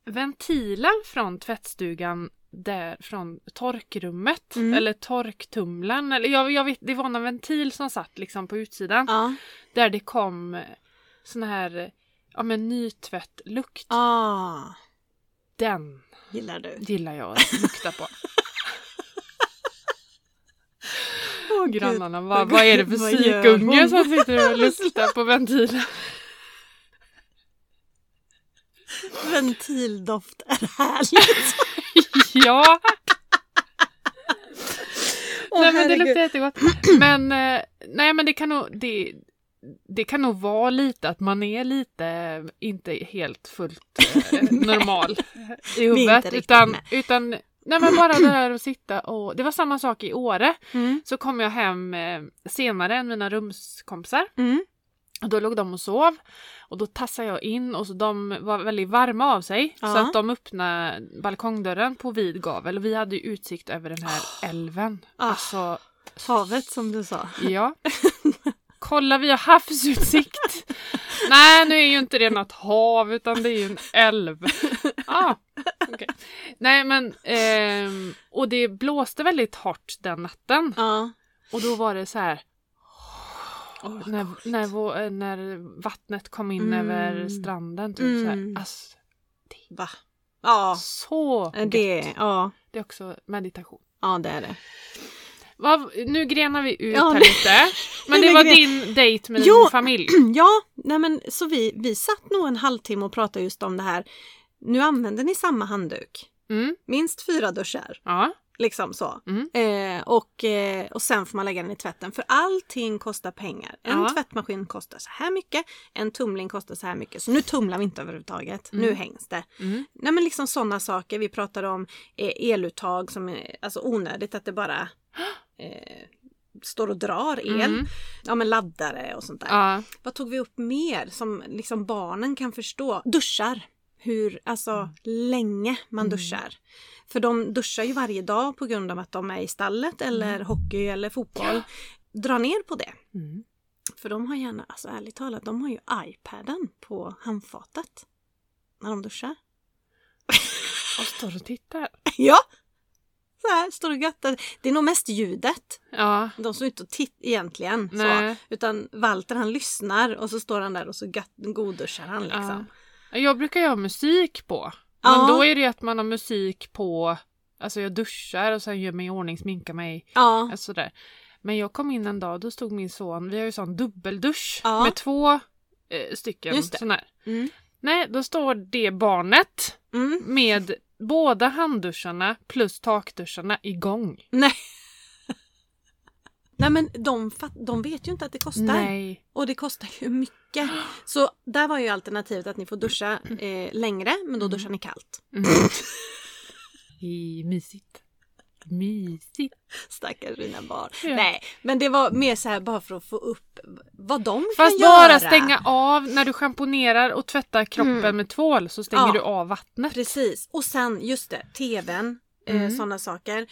Speaker 1: ventilen från tvättstugan där från torkrummet
Speaker 2: Mm.
Speaker 1: eller torktumlaren eller jag, jag vet, det var någon ventil som satt liksom på utsidan
Speaker 2: Ja.
Speaker 1: där det kom eh, sån här eh, ja men nytvätt lukt.
Speaker 2: Ah.
Speaker 1: Den
Speaker 2: Gillar du.
Speaker 1: gillar jag att lukta på.
Speaker 2: Åh, gud.
Speaker 1: Grannarna bara, vad är det för
Speaker 2: Vad gör
Speaker 1: psykunge
Speaker 2: hon?"
Speaker 1: som sitter och luktar på ventilen?
Speaker 2: Ventildoft är härligt.
Speaker 1: Ja,
Speaker 2: Åh,
Speaker 1: nej, men det
Speaker 2: herregud.
Speaker 1: luktar jättegott. Men, eh, nej, men det, kan nog, det, det kan nog vara lite att man är lite eh, inte helt fullt eh, normal i huvudet.
Speaker 2: riktigt,
Speaker 1: utan,
Speaker 2: nej.
Speaker 1: utan, nej men bara det där att sitta och... Det var samma sak i Åre.
Speaker 2: Mm.
Speaker 1: Så kom jag hem eh, senare än mina rumskompisar.
Speaker 2: Mm.
Speaker 1: Och då låg de och sov och då tassade jag in och så de var väldigt varma av sig så
Speaker 2: Ja.
Speaker 1: att de öppnade balkongdörren på vid gavel och vi hade ju utsikt över den här älven.
Speaker 2: Ah.
Speaker 1: Alltså,
Speaker 2: Havet som du sa.
Speaker 1: ja. Kolla vi har havsutsikt! Nej nu är ju inte det något hav utan det är ju en älv. Ah, okej. Nej men, ehm, och det blåste väldigt hårt den natten
Speaker 2: Ja.
Speaker 1: och då var det så här när, när, vå- eh, när vattnet kom in
Speaker 2: Mm.
Speaker 1: över stranden. Typ,
Speaker 2: Mm.
Speaker 1: så, här. Alltså,
Speaker 2: Va? Ja.
Speaker 1: så gött!
Speaker 2: Eh, Det, ja.
Speaker 1: Det är också meditation.
Speaker 2: ja, det är det.
Speaker 1: Vad, nu grenar vi ut
Speaker 2: Ja,
Speaker 1: här
Speaker 2: nu-
Speaker 1: lite. Men
Speaker 2: nu
Speaker 1: det var
Speaker 2: gren-
Speaker 1: din dejt med
Speaker 2: Jo.
Speaker 1: din familj.
Speaker 2: Ja, nej men så vi, vi satt nog en halvtimme och pratade just om det här. Nu använder ni samma handduk.
Speaker 1: Mm,
Speaker 2: Minst fyra duschar,
Speaker 1: ja.
Speaker 2: liksom så.
Speaker 1: Mm.
Speaker 2: Eh, och, eh, och sen får man lägga den i tvätten. För allting kostar pengar. En
Speaker 1: Ja.
Speaker 2: tvättmaskin kostar så här mycket. En tumling kostar så här mycket. Så nu tumlar vi inte överhuvudtaget.
Speaker 1: Mm.
Speaker 2: Nu hängs det.
Speaker 1: Mm,
Speaker 2: Nej men liksom sådana saker. Vi pratade om eh, eluttag som är alltså onödigt att det bara eh, står och drar el.
Speaker 1: Mm.
Speaker 2: Ja men laddare och sånt där.
Speaker 1: ja.
Speaker 2: Vad tog vi upp mer som liksom barnen kan förstå? Duschar. Hur, alltså
Speaker 1: Mm.
Speaker 2: länge man duschar. För de duschar ju varje dag på grund av att de är i stallet eller hockey eller fotboll. Dra ner på det.
Speaker 1: Mm.
Speaker 2: För de har gärna, alltså ärligt talat, de har ju iPaden på handfatet. När de duschar.
Speaker 1: Och står och tittar.
Speaker 2: Ja! Så här står det gött. Det är nog mest ljudet.
Speaker 1: Ja.
Speaker 2: De står inte och tittar egentligen. Så.
Speaker 1: Nej.
Speaker 2: Utan Walter han lyssnar och så står han där och så gött, godduschar han liksom.
Speaker 1: Ja. Jag brukar ju ha musik på. Men
Speaker 2: Ja.
Speaker 1: då är det ju att man har musik på, alltså jag duschar och sen gör mig i ordning, sminkar mig.
Speaker 2: Ja.
Speaker 1: Alltså sådär. Men jag kom in en dag, då stod min son, vi har ju sån dubbeldusch
Speaker 2: Ja.
Speaker 1: med två eh, stycken
Speaker 2: Just det.
Speaker 1: sån här.
Speaker 2: Mm.
Speaker 1: Nej, då står det barnet
Speaker 2: Mm.
Speaker 1: med båda handduscharna plus takduscharna igång.
Speaker 2: Nej. Nej men de, fat- de vet ju inte att det kostar.
Speaker 1: Nej.
Speaker 2: Och det kostar ju mycket. Så där var ju alternativet att ni får duscha eh, längre men då duschar ni kallt.
Speaker 1: Mm. I, mysigt. Mysigt.
Speaker 2: Stackars mina barn.
Speaker 1: Ja.
Speaker 2: Nej men det var mer så här bara för att få upp vad de
Speaker 1: Fast
Speaker 2: kan
Speaker 1: bara
Speaker 2: göra.
Speaker 1: stänga av när du schamponerar och tvättar kroppen
Speaker 2: Mm.
Speaker 1: med tvål så stänger
Speaker 2: Ja.
Speaker 1: du av vattnet.
Speaker 2: Precis. Och sen just det, tvn. Eh,
Speaker 1: Mm.
Speaker 2: Sådana saker.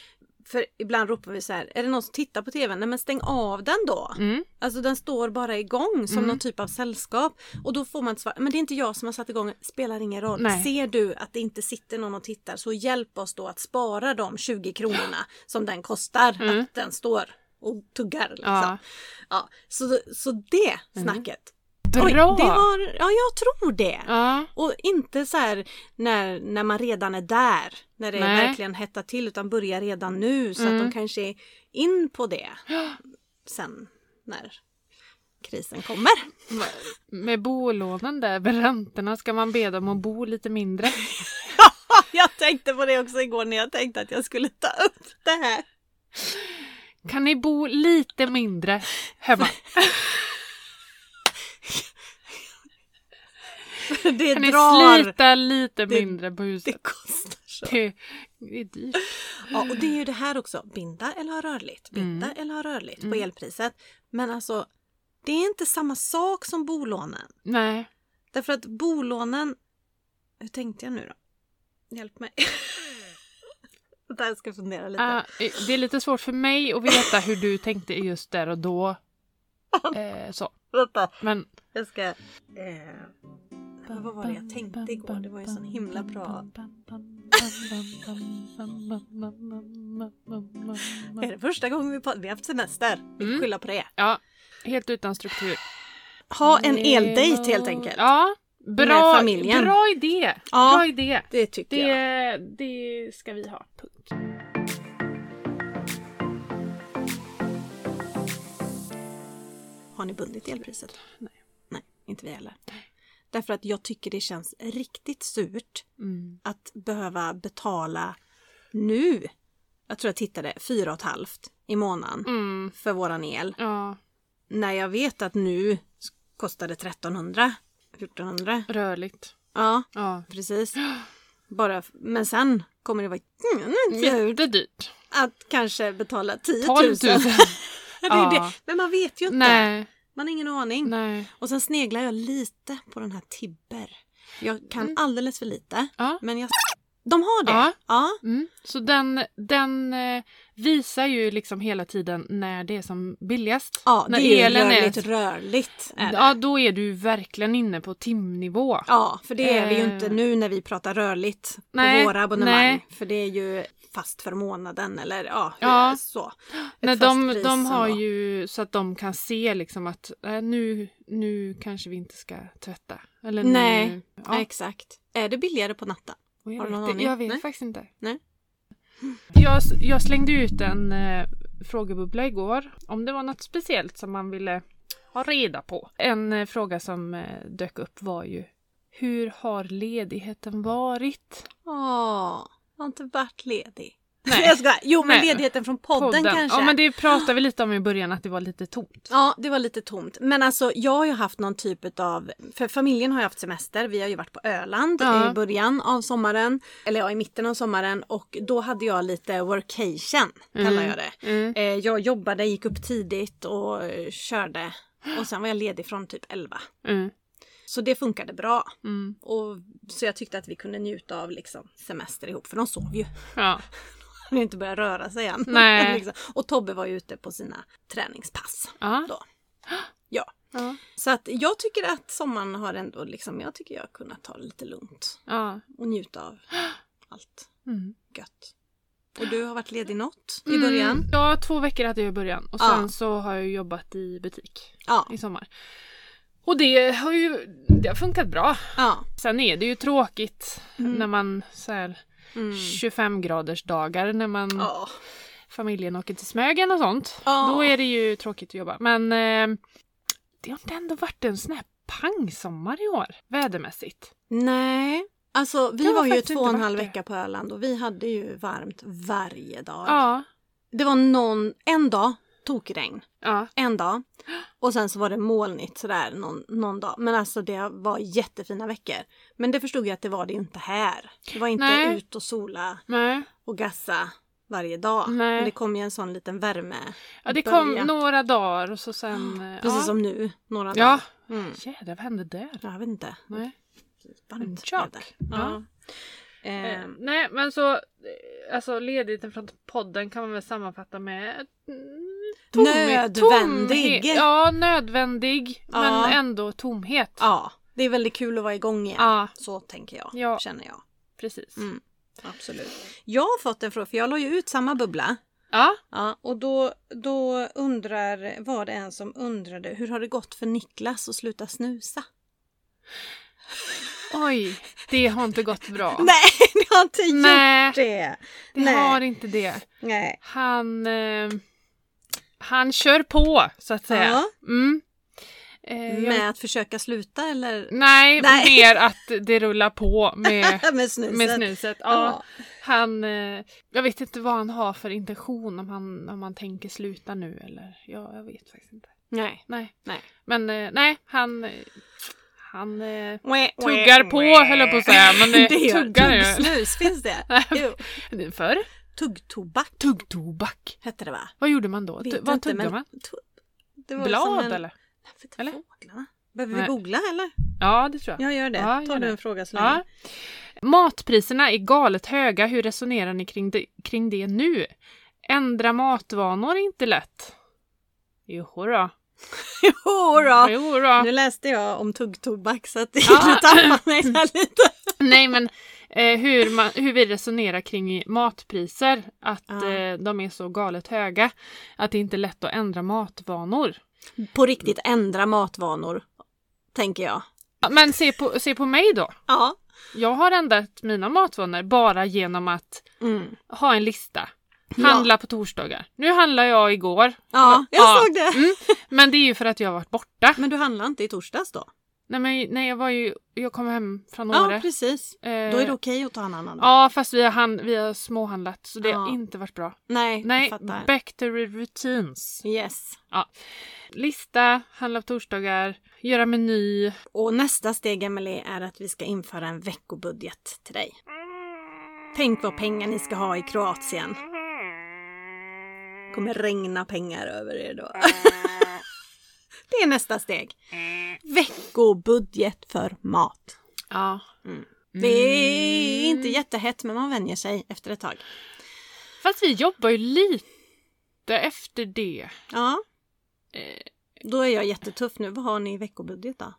Speaker 2: För ibland ropar vi så här, är det någon som tittar på tvn? Nej men stäng av den då.
Speaker 1: Mm.
Speaker 2: Alltså den står bara igång som
Speaker 1: Mm.
Speaker 2: någon typ av sällskap. Och då får man ett svar, men det är inte jag som har satt igång, spelar ingen roll.
Speaker 1: Nej.
Speaker 2: Ser du att det inte sitter någon och tittar så hjälp oss då att spara de 20 kronorna som den kostar
Speaker 1: Mm.
Speaker 2: att den står och tuggar. Liksom.
Speaker 1: Ja. Mm.
Speaker 2: Ja. så, så det snacket.
Speaker 1: Bra!
Speaker 2: Liksom. Oj, det var, ja, jag tror det.
Speaker 1: Ja.
Speaker 2: Och inte så här när, när man redan är där, när det
Speaker 1: Nej.
Speaker 2: verkligen hettar till, utan börja redan nu så
Speaker 1: Mm.
Speaker 2: att de kanske är in på det sen när krisen kommer.
Speaker 1: Med bolånen där, med räntorna, ska man be dem att bo lite mindre.
Speaker 2: Jag tänkte på det också igår när jag tänkte att jag skulle ta upp det här.
Speaker 1: Kan ni bo lite mindre hemma?
Speaker 2: Det
Speaker 1: Kan ni
Speaker 2: drar.
Speaker 1: slita lite
Speaker 2: Det-
Speaker 1: mindre på
Speaker 2: Det
Speaker 1: huset?
Speaker 2: kostar så.
Speaker 1: Det, det är dyrt.
Speaker 2: Ja, och det är ju det här också. Binda eller ha rörligt. Binda
Speaker 1: Mm.
Speaker 2: eller ha rörligt på
Speaker 1: Mm.
Speaker 2: elpriset. Men alltså, det är inte samma sak som bolånen.
Speaker 1: Nej.
Speaker 2: Därför att bolånen... Hur tänkte jag nu då? Hjälp mig. Där ska jag fundera lite.
Speaker 1: Ah, eh, det är lite svårt för mig att veta hur du tänkte just där och då. Eh, så.
Speaker 2: Vänta,
Speaker 1: Men
Speaker 2: jag ska... Eh, men Äh, vad var det jag tänkte igår? Det var ju en sån himla bra... Är det första gången vi pratar? Vi har haft semester. Vi
Speaker 1: Mm.
Speaker 2: skyller på det.
Speaker 1: Ja, helt utan struktur.
Speaker 2: Ha en eldejt helt enkelt.
Speaker 1: Ja,
Speaker 2: Med
Speaker 1: bra,
Speaker 2: familjen.
Speaker 1: bra idé.
Speaker 2: Ja.
Speaker 1: Bra idé.
Speaker 2: Det tycker jag.
Speaker 1: Det, det ska vi ha. Punkt.
Speaker 2: Har ni bundit elpriset?
Speaker 1: Nej.
Speaker 2: Nej, inte vi heller. Därför att jag tycker det känns riktigt surt
Speaker 1: Mm.
Speaker 2: att behöva betala nu, jag tror jag tittade, fyra och ett halvt i månaden
Speaker 1: Mm.
Speaker 2: för våran el.
Speaker 1: Ja,
Speaker 2: När jag vet att nu kostar det 1300, 1400.
Speaker 1: rörligt.
Speaker 2: Ja,
Speaker 1: Ja.
Speaker 2: precis. Bara, f- men sen kommer det vara jättedyrt
Speaker 1: Jättedyrt.
Speaker 2: att kanske betala 10 000.
Speaker 1: 12 000.
Speaker 2: det är
Speaker 1: Ja.
Speaker 2: det. Men man vet ju inte.
Speaker 1: Nej,
Speaker 2: Man har ingen aning.
Speaker 1: nej.
Speaker 2: Och sen sneglar jag lite på den här Tibber. Jag kan alldeles för lite.
Speaker 1: Ja.
Speaker 2: Men jag... De har det?
Speaker 1: Mm. Ja.
Speaker 2: ja.
Speaker 1: Mm. Så den, den eh, visar ju liksom hela tiden när det är som billigast.
Speaker 2: Ja,
Speaker 1: när
Speaker 2: det är ju rörligt, rörligt. Är det. Ja.
Speaker 1: Ja, då är du verkligen inne på timnivå.
Speaker 2: för det är vi ju
Speaker 1: Eh.
Speaker 2: inte nu när vi pratar rörligt på
Speaker 1: Nej,
Speaker 2: våra abonnemang.
Speaker 1: nej.
Speaker 2: För det är ju fast för månaden eller ja, hur-
Speaker 1: Ja.
Speaker 2: så. Ett
Speaker 1: Nej,
Speaker 2: fast
Speaker 1: de,
Speaker 2: pris
Speaker 1: de har
Speaker 2: ändå.
Speaker 1: ju så att de kan se liksom att eh, nu, nu kanske vi inte ska tvätta. Eller
Speaker 2: Nej.
Speaker 1: Nu,
Speaker 2: Ja.
Speaker 1: ja.
Speaker 2: exakt. Är det billigare på natten?
Speaker 1: Och jag
Speaker 2: Har du någon
Speaker 1: vet, det-
Speaker 2: aning?
Speaker 1: jag vet
Speaker 2: Nej.
Speaker 1: faktiskt inte.
Speaker 2: Nej.
Speaker 1: Jag, s- jag slängde ut en eh, frågebubbla igår. Om det var något speciellt som man ville ha reda på. En eh, fråga som eh, dök upp var ju Hur har ledigheten varit?
Speaker 2: Åh, jag har inte varit ledig.
Speaker 1: Nej.
Speaker 2: Jag skojar. Jo, men
Speaker 1: Nej.
Speaker 2: ledigheten från podden, kanske.
Speaker 1: Ja men det pratade vi lite om i början att det var lite tomt.
Speaker 2: Ja, det var lite tomt. Men alltså jag har ju haft någon typ av, för familjen har ju haft semester. Vi har ju varit på Öland
Speaker 1: Ja.
Speaker 2: i början av sommaren. Eller ja, i mitten av sommaren. Och då hade jag lite workation, kallar jag det.
Speaker 1: Mm.
Speaker 2: Eh, Jag jobbade, gick upp tidigt och eh, körde. Och sen var jag ledig från typ 11.
Speaker 1: Mm.
Speaker 2: Så det funkade bra.
Speaker 1: Mm.
Speaker 2: Och, så jag tyckte att vi kunde njuta av liksom, semester ihop, för de sov ju.
Speaker 1: Ja.
Speaker 2: De hade inte börjat röra sig än.
Speaker 1: Nej.
Speaker 2: liksom. Och Tobbe var ju ute på sina träningspass.
Speaker 1: Ja.
Speaker 2: Då. Ja.
Speaker 1: Ja.
Speaker 2: Så att jag tycker att sommaren har ändå liksom, jag tycker jag har kunnat ta det lite lugnt
Speaker 1: ja.
Speaker 2: och njuta av allt
Speaker 1: Mm.
Speaker 2: gött. Och du har varit ledig något i början?
Speaker 1: Mm, ja, två veckor hade jag i början och
Speaker 2: Ja.
Speaker 1: sen så har jag jobbat i butik
Speaker 2: Ja,
Speaker 1: i sommar. Och det har ju det har funkat bra.
Speaker 2: ja.
Speaker 1: Sen är det ju tråkigt
Speaker 2: Mm.
Speaker 1: när man så här
Speaker 2: Mm.
Speaker 1: 25 graders dagar när man
Speaker 2: Ja.
Speaker 1: familjen åker till Smögen och sånt.
Speaker 2: Ja.
Speaker 1: Då är det ju tråkigt att jobba. Men eh, det har inte ändå varit en sån här pangsommar i år vädermässigt.
Speaker 2: Nej. Alltså
Speaker 1: Det
Speaker 2: vi
Speaker 1: har
Speaker 2: var ju
Speaker 1: faktiskt
Speaker 2: två och en
Speaker 1: inte
Speaker 2: halv
Speaker 1: varit det.
Speaker 2: vecka på Öland och vi hade ju varmt varje dag.
Speaker 1: Ja.
Speaker 2: Det var någon, en dag tokregn.
Speaker 1: Ja.
Speaker 2: En dag. Och sen så var det molnigt sådär någon, någon dag. Men alltså det var jättefina veckor. Men det förstod jag att det var det ju inte här. Det var inte
Speaker 1: Nej.
Speaker 2: ut och sola
Speaker 1: Nej.
Speaker 2: och gassa varje dag.
Speaker 1: Nej.
Speaker 2: Men det kom ju en sån liten värme.
Speaker 1: Ja, det kom
Speaker 2: Börjat.
Speaker 1: några dagar och så sen... eh,
Speaker 2: Precis
Speaker 1: ja.
Speaker 2: som nu, några
Speaker 1: Ja.
Speaker 2: dagar. Mm.
Speaker 1: Jädrar, vad hände där?
Speaker 2: Jag vet inte.
Speaker 1: Nej.
Speaker 2: Varmt
Speaker 1: Chock.
Speaker 2: väder. Ja.
Speaker 1: Eh,
Speaker 2: Ehm,
Speaker 1: nej men så, eh, alltså ledigheten från podden kan man väl sammanfatta med mm,
Speaker 2: Nödvändig.
Speaker 1: tomhet. Ja, nödvändig
Speaker 2: Ja.
Speaker 1: men ändå tomhet. Ja,
Speaker 2: ja. Det är väldigt kul att vara igång igen. Så tänker jag,
Speaker 1: Ja.
Speaker 2: känner jag.
Speaker 1: precis.
Speaker 2: Mm. Absolut. Jag har fått en fråga, för jag la ju ut samma bubbla.
Speaker 1: Ja,
Speaker 2: Ja, och då, då undrar, var det en som undrade hur har det gått för Niklas att sluta snusa?
Speaker 1: oj, det har inte gått bra.
Speaker 2: Nej, det har inte
Speaker 1: Nej,
Speaker 2: gjort det!
Speaker 1: det
Speaker 2: Nej.
Speaker 1: har inte det.
Speaker 2: Nej.
Speaker 1: Han, eh, han kör på så att säga.
Speaker 2: Ja.
Speaker 1: Mm. Eh, jag
Speaker 2: Med att försöka sluta eller?
Speaker 1: Nej,
Speaker 2: Nej.
Speaker 1: mer att det rullar på med,
Speaker 2: Med snuset?
Speaker 1: med snuset. Ja,
Speaker 2: Ja.
Speaker 1: han, eh, jag vet inte vad han har för intention, om han, om han tänker sluta nu eller ja, jag vet faktiskt inte.
Speaker 2: Nej.
Speaker 1: Nej,
Speaker 2: Nej.
Speaker 1: men eh, nej, han, eh, Han eh,
Speaker 2: Mwah, mwah,
Speaker 1: tuggar på
Speaker 2: mwah.
Speaker 1: höll jag på att säga. Men det,
Speaker 2: Det gör
Speaker 1: tuggar ju.
Speaker 2: tuggsnus, finns det? Jo.
Speaker 1: Förr?
Speaker 2: Tuggtobak
Speaker 1: Tuggtobak.
Speaker 2: hette det va?
Speaker 1: Vad gjorde man då?
Speaker 2: Vet
Speaker 1: Tu-
Speaker 2: inte,
Speaker 1: vad tuggade
Speaker 2: men
Speaker 1: man?
Speaker 2: tu- det var som
Speaker 1: Blad
Speaker 2: en-
Speaker 1: eller?
Speaker 2: Nej, för
Speaker 1: Eller?
Speaker 2: Fåglarna. Behöver vi
Speaker 1: Nej.
Speaker 2: googla eller?
Speaker 1: Ja, det tror jag.
Speaker 2: Jag gör det.
Speaker 1: Ja,
Speaker 2: Tar
Speaker 1: gör
Speaker 2: du
Speaker 1: det.
Speaker 2: en fråga så länge?
Speaker 1: Ja. Matpriserna är galet höga. Hur resonerar ni kring det, kring det nu? Ändra matvanor är inte lätt. Joho då.
Speaker 2: Jo då.
Speaker 1: Jo då.
Speaker 2: Nu läste jag om tuggtobak så att
Speaker 1: Ja.
Speaker 2: nu tappade mig där lite.
Speaker 1: Nej men eh, hur, man, hur vi resonerar kring matpriser, att
Speaker 2: Ja.
Speaker 1: eh, de är så galet höga att det inte är lätt att ändra matvanor.
Speaker 2: På riktigt ändra matvanor, tänker jag.
Speaker 1: Ja, Men se på, se på mig då.
Speaker 2: Ja.
Speaker 1: Jag har ändrat mina matvanor bara genom att
Speaker 2: Mm.
Speaker 1: ha en lista.
Speaker 2: Ja.
Speaker 1: Handla på torsdagar. Nu handlar jag igår.
Speaker 2: Ja, jag
Speaker 1: Ja.
Speaker 2: såg det.
Speaker 1: Mm. Men det är ju för att jag har varit borta.
Speaker 2: Men du handlade inte i torsdags då?
Speaker 1: Nej, men, nej jag var ju, jag kom hem från
Speaker 2: Ja,
Speaker 1: Åre.
Speaker 2: precis.
Speaker 1: Eh,
Speaker 2: Då är det okej att ta en annan dag.
Speaker 1: Ja, fast vi har, hand, vi har småhandlat så det har
Speaker 2: Ja.
Speaker 1: inte varit bra.
Speaker 2: Nej,
Speaker 1: Nej,
Speaker 2: jag fattar.
Speaker 1: back to the routines.
Speaker 2: Yes.
Speaker 1: Lista, handla på torsdagar, göra meny.
Speaker 2: Och nästa steg, Emily är att vi ska införa en veckobudget till dig. Tänk vad pengar ni ska ha i Kroatien. kommer regna pengar över er då. Det är nästa steg. Veckobudget för mat.
Speaker 1: Ja.
Speaker 2: Mm.
Speaker 1: Mm.
Speaker 2: Det är inte jättehett men man vänjer sig efter ett tag.
Speaker 1: Fast vi jobbar ju lite efter det.
Speaker 2: Ja,
Speaker 1: Eh,
Speaker 2: då är jag jättetuff nu. Vad har ni i veckobudget då?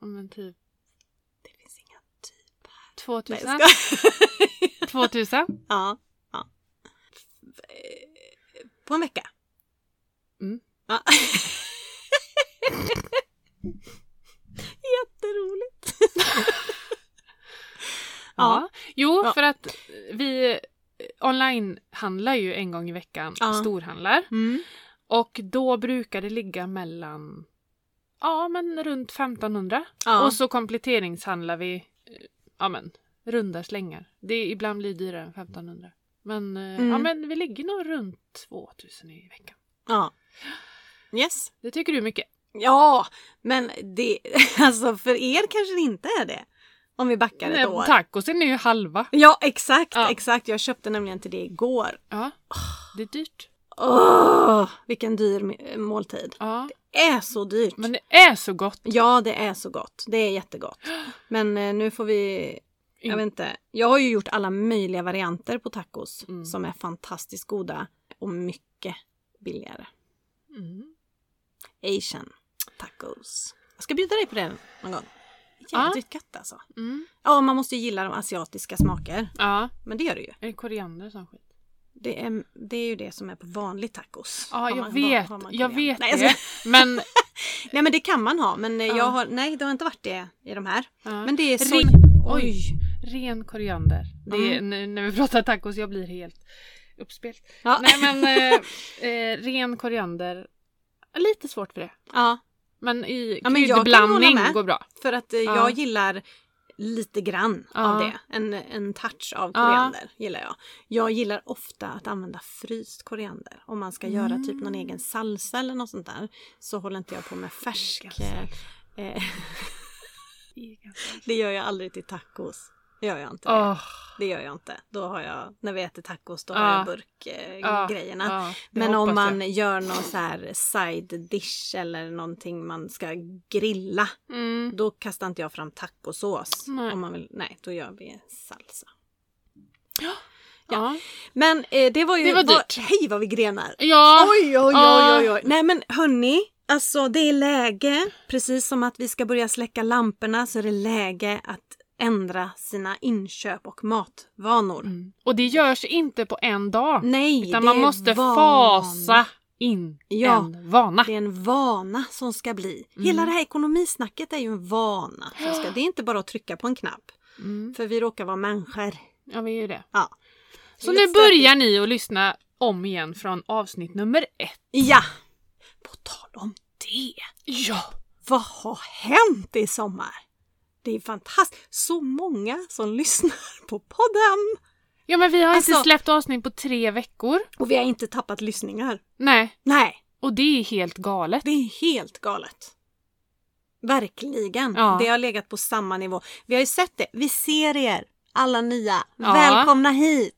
Speaker 1: ja, men typ
Speaker 2: Det finns inga typ. Nej,
Speaker 1: 2000.
Speaker 2: jag skojar.
Speaker 1: 2000.
Speaker 2: Ja. ja. Eh, På en vecka.
Speaker 1: Mm.
Speaker 2: Ja. Jätteroligt.
Speaker 1: Ja. Jo,
Speaker 2: Ja.
Speaker 1: för att vi online handlar ju en gång i veckan,
Speaker 2: Ja.
Speaker 1: storhandlar.
Speaker 2: Mm.
Speaker 1: Och då brukar det ligga mellan, ja men runt 1500.
Speaker 2: Ja.
Speaker 1: Och så kompletteringshandlar vi, eh, ja men runda slängar. Det är, ibland blir det dyrare än 1500. Men, eh,
Speaker 2: Mm.
Speaker 1: ja, men vi ligger nog runt 2000 i veckan.
Speaker 2: ja. Yes.
Speaker 1: Det tycker du är mycket.
Speaker 2: Ja, men det, alltså för er kanske det inte är det. Om vi backar ett år.
Speaker 1: Nej, Tacosen Eh, är ju halva.
Speaker 2: Ja, exakt,
Speaker 1: Ja.
Speaker 2: exakt. Jag köpte nämligen till det igår.
Speaker 1: Ja,
Speaker 2: Ah.
Speaker 1: det är dyrt.
Speaker 2: Åh, vilken dyr m- måltid.
Speaker 1: Ja,
Speaker 2: Är så dyrt.
Speaker 1: men det är så gott.
Speaker 2: Ja, det är så gott. Det är jättegott. Men eh, nu får vi... Jag
Speaker 1: In-
Speaker 2: vet inte. Jag har ju gjort alla möjliga varianter på tacos
Speaker 1: Mm.
Speaker 2: som är fantastiskt goda och mycket billigare.
Speaker 1: Mm.
Speaker 2: Asian tacos. Jag ska bjuda dig på det någon gång.
Speaker 1: Ja.
Speaker 2: Jävligt gött alltså.
Speaker 1: Mm.
Speaker 2: Ja, man måste ju gilla de asiatiska smaker.
Speaker 1: Ja,
Speaker 2: Men det gör du ju.
Speaker 1: är det koriander och sån skit?
Speaker 2: Det är, det är ju det som är på vanlig tacos.
Speaker 1: Ja,
Speaker 2: Har
Speaker 1: jag
Speaker 2: man-
Speaker 1: vet.
Speaker 2: har man
Speaker 1: Jag
Speaker 2: koriander?
Speaker 1: vet
Speaker 2: nej,
Speaker 1: det.
Speaker 2: alltså,
Speaker 1: Men...
Speaker 2: nej, men det kan man ha. Men eh,
Speaker 1: Ja.
Speaker 2: jag har, nej, det har inte varit det i de här.
Speaker 1: ja.
Speaker 2: Men det är så...
Speaker 1: Ring-
Speaker 2: Oj!
Speaker 1: Ren koriander. Det är,
Speaker 2: Mm.
Speaker 1: nu, när vi pratar tacos, jag blir helt uppspelt.
Speaker 2: Ja.
Speaker 1: Nej men, eh, eh, ren koriander. Lite svårt för det.
Speaker 2: ja,
Speaker 1: Men i
Speaker 2: Ja, men jag kan
Speaker 1: kryddblandning
Speaker 2: hålla med.
Speaker 1: går bra.
Speaker 2: för att eh,
Speaker 1: Ja.
Speaker 2: jag gillar lite grann av
Speaker 1: Ja.
Speaker 2: det. En, en touch av
Speaker 1: Ja.
Speaker 2: koriander gillar jag. Jag gillar ofta att använda fryst koriander. Om man ska göra typ någon egen salsa eller något sånt där så håller inte jag på med färsk.
Speaker 1: Mm. Egen
Speaker 2: eh, eh, det gör jag aldrig till tacos. Det gör jag inte. det.
Speaker 1: Åh,
Speaker 2: Det gör jag inte. Då har jag, när vi äter tacos, då
Speaker 1: Ja.
Speaker 2: har jag burkgrejerna.
Speaker 1: ja,
Speaker 2: Eh, grejerna.
Speaker 1: ja, Ah. det
Speaker 2: Men om
Speaker 1: hoppas
Speaker 2: man gör någon så här side dish eller någonting man ska grilla.
Speaker 1: jag. Mm.
Speaker 2: Då kastar inte jag fram tacosås.
Speaker 1: Nej.
Speaker 2: Nej. Om man vill, nej, då gör vi salsa.
Speaker 1: Ja.
Speaker 2: Men eh, det var ju...
Speaker 1: Det var dyrt.
Speaker 2: hej vad vi grenar!
Speaker 1: Ja.
Speaker 2: Oj, oj,
Speaker 1: Ja.
Speaker 2: oj, oj, oj. Nej men hörni, alltså det är läge. Precis som att vi ska börja släcka lamporna så är det läge att ändra sina inköp och matvanor.
Speaker 1: Mm. Och det görs inte på en dag.
Speaker 2: Nej,
Speaker 1: utan
Speaker 2: det
Speaker 1: man
Speaker 2: är
Speaker 1: måste
Speaker 2: van-
Speaker 1: fasa in
Speaker 2: Ja.
Speaker 1: en vana.
Speaker 2: Det är en vana som ska bli.
Speaker 1: Mm.
Speaker 2: Hela det här ekonomisnacket är ju en vana. Som ska, det är inte bara att trycka på en knapp.
Speaker 1: Mm.
Speaker 2: För vi råkar vara människor.
Speaker 1: Ja, vi är ju det.
Speaker 2: Ja.
Speaker 1: Så
Speaker 2: Det är
Speaker 1: nu
Speaker 2: lite stökigt.
Speaker 1: börjar ni att lyssna om igen från avsnitt nummer ett.
Speaker 2: Ja! På tal om det.
Speaker 1: Ja!
Speaker 2: Vad har hänt i sommar? Det är fantastiskt. Så många som lyssnar på podden.
Speaker 1: Ja men vi har inte
Speaker 2: Alltså-
Speaker 1: släppt avsnitt på tre veckor.
Speaker 2: Och vi har inte tappat lyssningar.
Speaker 1: Nej,
Speaker 2: Nej,
Speaker 1: och det är helt galet.
Speaker 2: det är helt galet. Verkligen.
Speaker 1: Ja.
Speaker 2: Det har legat på samma nivå. Vi har ju sett det. Vi ser er, alla nya.
Speaker 1: Ja.
Speaker 2: Välkomna hit!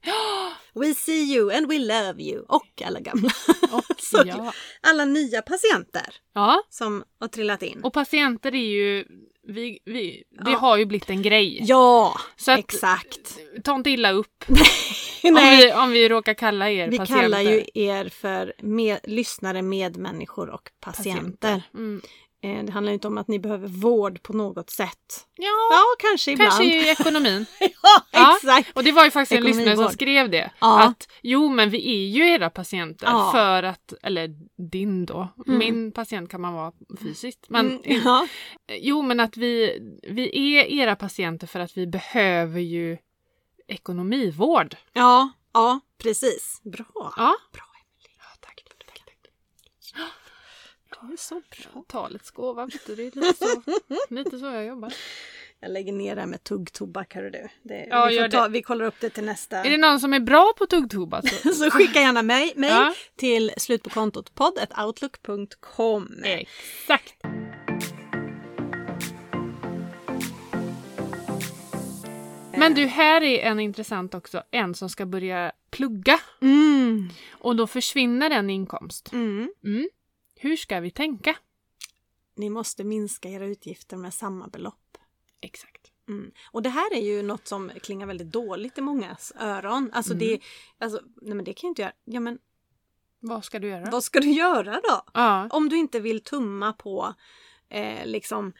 Speaker 2: We see you and we love you. Och alla gamla. Så-
Speaker 1: ja.
Speaker 2: Alla nya patienter
Speaker 1: ja.
Speaker 2: som har trillat in.
Speaker 1: Och patienter är ju... Vi, vi, det
Speaker 2: Ja.
Speaker 1: har ju blivit en grej.
Speaker 2: Ja,
Speaker 1: Så att-
Speaker 2: exakt.
Speaker 1: Ta inte illa upp om
Speaker 2: Nej,
Speaker 1: vi, om vi råkar kalla er
Speaker 2: vi
Speaker 1: patienter.
Speaker 2: kallar ju er för med, lyssnare, medmänniskor och patienter.
Speaker 1: Mm.
Speaker 2: Eh, Det handlar ju inte om att ni behöver vård på något sätt.
Speaker 1: Ja,
Speaker 2: Ja, kanske ibland.
Speaker 1: kanske i ekonomin. Ja.
Speaker 2: ja, exakt.
Speaker 1: Och det var ju faktiskt en
Speaker 2: Ekonomivård.
Speaker 1: lyssnare som skrev det.
Speaker 2: Ja.
Speaker 1: Att jo men vi är ju era patienter
Speaker 2: Ja.
Speaker 1: för att, eller din då,
Speaker 2: Mm.
Speaker 1: min patient kan man vara fysiskt. Men,
Speaker 2: Mm, ja.
Speaker 1: Jo men att vi, vi är era patienter för att vi behöver ju ekonomivård.
Speaker 2: ja, ja, precis. Bra.
Speaker 1: Ja.
Speaker 2: Bra,
Speaker 1: Ja, tack. tack, tack.
Speaker 2: Det är så bra.
Speaker 1: Talets gåva, vet du, det är lite så, lite så jag jobbar.
Speaker 2: Jag lägger ner det här med tuggtobak, hörru du. Det,
Speaker 1: Ja,
Speaker 2: vi,
Speaker 1: gör
Speaker 2: får ta, vi kollar upp det till nästa.
Speaker 1: Är det någon som är bra på tuggtobak så
Speaker 2: Så skicka gärna mig, mig
Speaker 1: Ja.
Speaker 2: till slutpåkontotpodd.outlook.com.
Speaker 1: Exakt. Men du, här är en intressant också. En som ska börja plugga
Speaker 2: Mm.
Speaker 1: och då försvinner en inkomst.
Speaker 2: Mm.
Speaker 1: Mm. Hur ska vi tänka?
Speaker 2: Ni måste minska era utgifter med samma belopp.
Speaker 1: Exakt.
Speaker 2: Mm. Och det här är ju något som klingar väldigt dåligt i mångas öron. Alltså,
Speaker 1: Mm.
Speaker 2: det, alltså nej men det kan jag inte göra. Ja men
Speaker 1: Vad ska du göra?
Speaker 2: vad ska du göra då?
Speaker 1: Ja.
Speaker 2: Om du inte vill tumma på eh, liksom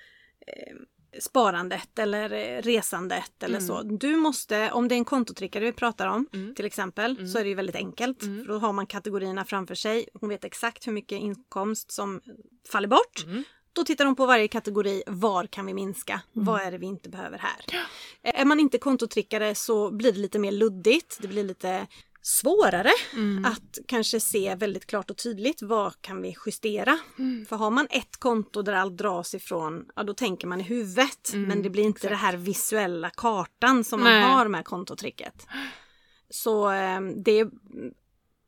Speaker 2: eh, sparandet eller eh, resandet eller
Speaker 1: Mm.
Speaker 2: så. Du måste, om det är en kontotrickare vi pratar om
Speaker 1: Mm.
Speaker 2: till exempel,
Speaker 1: Mm.
Speaker 2: så är det ju väldigt enkelt.
Speaker 1: Mm.
Speaker 2: För då har man kategorierna framför sig. Hon vet exakt hur mycket inkomst som faller bort.
Speaker 1: Mm.
Speaker 2: Då tittar de på varje kategori. Var kan vi minska? Vad är det vi inte behöver här? Eh, Är man inte kontotrickare så blir det lite mer luddigt. Det blir lite svårare
Speaker 1: Mm.
Speaker 2: att kanske se väldigt klart och tydligt vad kan vi justera?
Speaker 1: Mm.
Speaker 2: För har man ett konto där allt dras ifrån, ja då tänker man i huvudet.
Speaker 1: Mm,
Speaker 2: men det blir inte
Speaker 1: exakt.
Speaker 2: det här visuella kartan som
Speaker 1: Nej.
Speaker 2: man har med kontotricket. Så eh, det, är,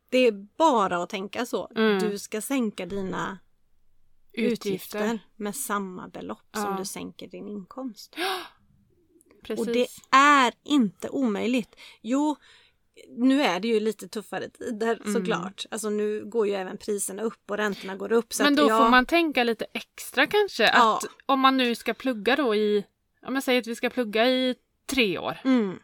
Speaker 2: det är bara att tänka så.
Speaker 1: Mm.
Speaker 2: Du ska sänka dina utgifter, med samma belopp som
Speaker 1: Ja.
Speaker 2: du sänker din inkomst.
Speaker 1: Precis.
Speaker 2: Och det är inte omöjligt. Jo, nu är det ju lite tuffare tider
Speaker 1: Mm.
Speaker 2: såklart. Alltså nu går ju även priserna upp och räntorna går upp. Så
Speaker 1: men
Speaker 2: att
Speaker 1: då
Speaker 2: ja,
Speaker 1: får man tänka lite extra kanske.
Speaker 2: Ja.
Speaker 1: Att om man nu ska plugga då i, om jag säger att vi ska plugga i tre år.
Speaker 2: Mm,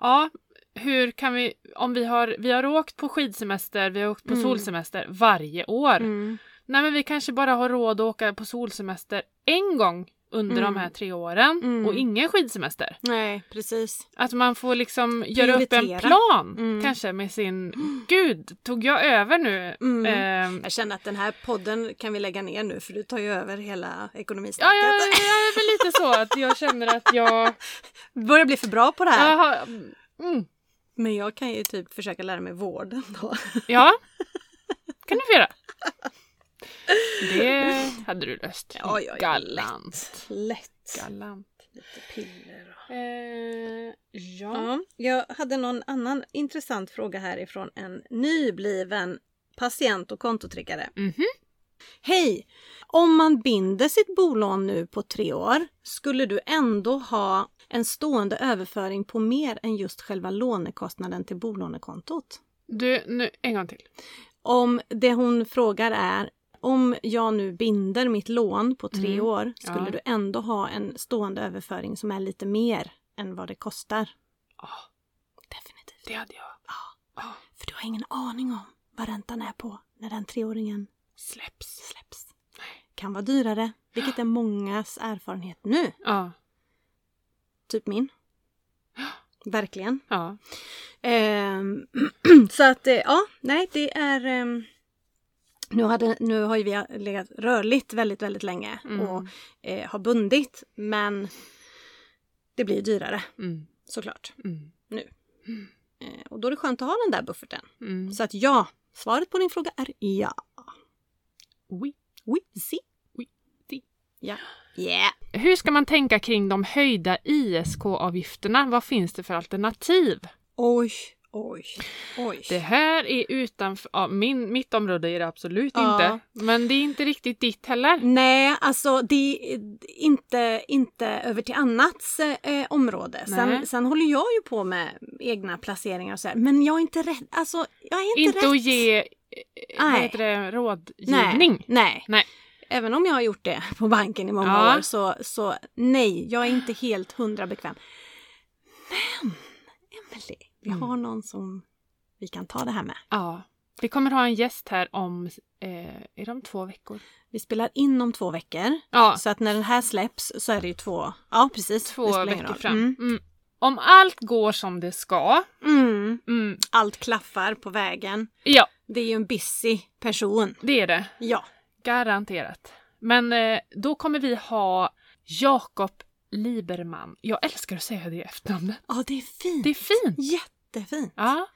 Speaker 1: Ja, hur kan vi, om vi har, vi har åkt på skidsemester, vi har åkt på
Speaker 2: Mm.
Speaker 1: solsemester varje år.
Speaker 2: mm,
Speaker 1: Nej men vi kanske bara har råd att åka på solsemester en gång under
Speaker 2: Mm.
Speaker 1: de här tre åren
Speaker 2: Mm.
Speaker 1: och ingen skidsemester.
Speaker 2: nej, precis.
Speaker 1: Att man får liksom göra upp en
Speaker 2: Prioritera.
Speaker 1: plan
Speaker 2: Mm.
Speaker 1: kanske med sin, gud tog jag över nu?
Speaker 2: Mm.
Speaker 1: Ehm,
Speaker 2: Jag känner att den här podden kan vi lägga ner nu för du tar ju över hela
Speaker 1: ja,
Speaker 2: ekonomisnacket.
Speaker 1: ja, ja, det är väl lite så att jag känner att jag,
Speaker 2: Börjar bli för bra på det här.
Speaker 1: jag har, mm,
Speaker 2: Men jag kan ju typ försöka lära mig vården då.
Speaker 1: ja, kan du få göra. Det hade du löst.
Speaker 2: Ja, ja, ja,
Speaker 1: Galant.
Speaker 2: Lätt.
Speaker 1: Galant.
Speaker 2: Lite piller och...
Speaker 1: Eh, ja.
Speaker 2: Ja, jag hade någon annan intressant fråga här ifrån en nybliven patient och kontotrickare.
Speaker 1: Mhm.
Speaker 2: Hej! Om man binder sitt bolån nu på tre år, skulle du ändå ha en stående överföring på mer än just själva lånekostnaden till bolånekontot?
Speaker 1: Du, nu en gång till.
Speaker 2: Om det hon frågar är om jag nu binder mitt lån på tre
Speaker 1: Mm,
Speaker 2: år, skulle
Speaker 1: ja.
Speaker 2: du ändå ha en stående överföring som är lite mer än vad det kostar?
Speaker 1: Ja,
Speaker 2: Definitivt.
Speaker 1: det hade jag.
Speaker 2: För du har ingen aning om vad räntan är på när den treåringen
Speaker 1: Släpps.
Speaker 2: släpps. Kan vara dyrare, vilket är mångas erfarenhet nu.
Speaker 1: Ja.
Speaker 2: Typ min. Verkligen.
Speaker 1: Ja.
Speaker 2: Ehm, så att, eh, ja, nej, det är... ehm, nu, hade, nu har ju vi legat rörligt väldigt, väldigt länge
Speaker 1: Mm.
Speaker 2: och eh, har bundit, men det blir ju dyrare
Speaker 1: Mm.
Speaker 2: såklart.
Speaker 1: Mm.
Speaker 2: Eh, och då är det skönt att ha den där bufferten.
Speaker 1: Mm.
Speaker 2: Så att ja, svaret på din fråga är ja.
Speaker 1: Oui.
Speaker 2: Oui, si.
Speaker 1: Oui, si.
Speaker 2: Ja. Yeah.
Speaker 1: Hur ska man tänka kring de höjda ISK-avgifterna? Vad finns det för alternativ?
Speaker 2: Oj, Oj. Oj.
Speaker 1: Det här är utanför, ja, min, mitt område är det absolut
Speaker 2: Ja.
Speaker 1: inte. Men det är inte riktigt ditt heller.
Speaker 2: Nej, alltså det är inte, inte över till annats eh, område. Sen,
Speaker 1: Nej.
Speaker 2: sen håller jag ju på med egna placeringar och så här, men jag är inte rätt. Alltså, jag är inte,
Speaker 1: Inte
Speaker 2: rätt.
Speaker 1: att ge eh, vad
Speaker 2: Nej.
Speaker 1: heter det, rådgivning.
Speaker 2: nej, nej.
Speaker 1: Nej.
Speaker 2: Även om jag har gjort det på banken i många
Speaker 1: Ja.
Speaker 2: år så, så nej, jag är inte helt hundra bekväm. Men, Emelie, vi
Speaker 1: Mm.
Speaker 2: har någon som vi kan ta det här med.
Speaker 1: Ja. Vi kommer ha en gäst här om, eh, är det om två veckor?
Speaker 2: Vi spelar in om två veckor.
Speaker 1: Ja,
Speaker 2: Så att när den här släpps så är det ju två, ja precis. det
Speaker 1: två
Speaker 2: spelar ingen
Speaker 1: veckor
Speaker 2: roll.
Speaker 1: fram.
Speaker 2: Mm.
Speaker 1: Mm. Om allt går som det ska.
Speaker 2: Mm.
Speaker 1: Mm.
Speaker 2: Allt klaffar på vägen.
Speaker 1: Ja,
Speaker 2: Det är ju en busy person.
Speaker 1: det är det.
Speaker 2: Ja.
Speaker 1: Garanterat. Men eh, då kommer vi ha Jakob Liberman. Jag älskar att säga det i efternamnet.
Speaker 2: Ja, det är fint.
Speaker 1: Det är fint.
Speaker 2: Jättefint.
Speaker 1: Ja.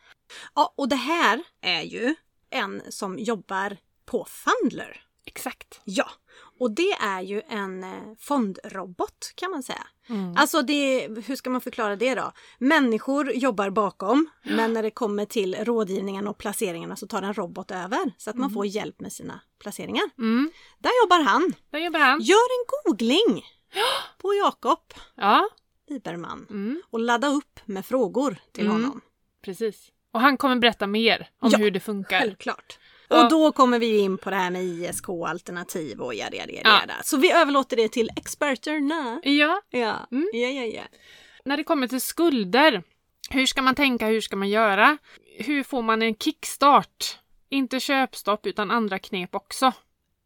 Speaker 2: Ja, och det här är ju en som jobbar på Fundler.
Speaker 1: Exakt.
Speaker 2: Ja, och det är ju en eh, fondrobot kan man säga.
Speaker 1: Mm.
Speaker 2: Alltså det, hur ska man förklara det då? Människor jobbar bakom men när det kommer till rådgivningen och placeringarna så tar en robot över så att man
Speaker 1: Mm.
Speaker 2: får hjälp med sina placeringar.
Speaker 1: Mm.
Speaker 2: Där jobbar han.
Speaker 1: Där jobbar han.
Speaker 2: Gör en googling på Jakob
Speaker 1: Ja.
Speaker 2: Iberman
Speaker 1: Mm.
Speaker 2: och ladda upp med frågor till
Speaker 1: Mm.
Speaker 2: honom.
Speaker 1: Precis. Och han kommer berätta mer om
Speaker 2: Ja,
Speaker 1: hur det funkar.
Speaker 2: Självklart.
Speaker 1: Ja.
Speaker 2: Och då kommer vi in på det här med ISK-alternativ och jada, jada, jada.
Speaker 1: Ja.
Speaker 2: jada. Så vi överlåter det till experterna.
Speaker 1: Ja.
Speaker 2: Ja,
Speaker 1: Mm.
Speaker 2: ja, ja. ja.
Speaker 1: När det kommer till skulder. Hur ska man tänka? Hur ska man göra? Hur får man en kickstart? Inte köpstopp utan andra knep också.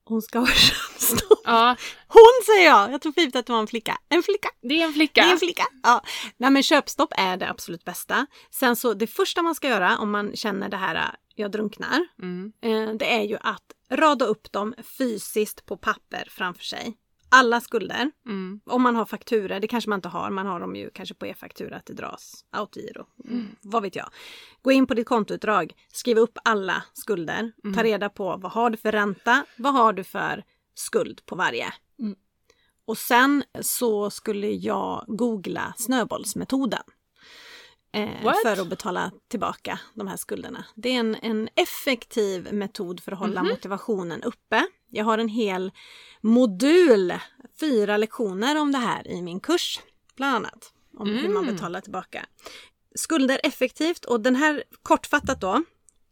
Speaker 2: Hon ska ha könsstopp.
Speaker 1: Ja,
Speaker 2: Hon säger jag! Jag tror för givet att det var en flicka. En flicka!
Speaker 1: det är en flicka.
Speaker 2: Det är en flicka. Ja. Nej men köpstopp är det absolut bästa. Sen så det första man ska göra om man känner det här äh, jag drunknar.
Speaker 1: Mm.
Speaker 2: eh, Det är ju att rada upp dem fysiskt på papper framför sig. Alla skulder.
Speaker 1: Mm.
Speaker 2: Om man har fakturer, det kanske man inte har, man har dem ju kanske på e-faktura att det dras, autogiro, mm. vad vet jag. Gå in på ditt kontoutdrag, skriv upp alla skulder,
Speaker 1: Mm.
Speaker 2: ta reda på vad har du för ränta, vad har du för skuld på varje.
Speaker 1: Mm.
Speaker 2: Och sen så skulle jag googla snöbollsmetoden. Eh,
Speaker 1: What?
Speaker 2: för att betala tillbaka de här skulderna. Det är en, en effektiv metod för att hålla
Speaker 1: Mhm.
Speaker 2: motivationen uppe. Jag har en hel modul, fyra lektioner om det här i min kurs, bland annat. Om hur man
Speaker 1: Mm.
Speaker 2: betalar tillbaka. Skulder effektivt och den här kortfattat då.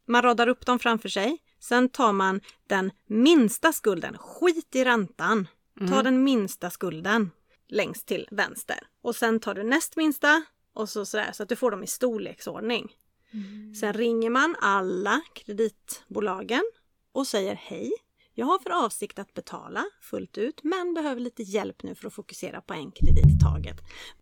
Speaker 2: Man radar upp dem framför sig. Sen tar man den minsta skulden, skit i räntan.
Speaker 1: Mm.
Speaker 2: Ta den minsta skulden längst till vänster. Och sen tar du näst minsta och så sådär så att du får dem i storleksordning. Sen ringer man alla kreditbolagen och säger hej. Jag har för avsikt att betala fullt ut men behöver lite hjälp nu för att fokusera på en kredit i taget.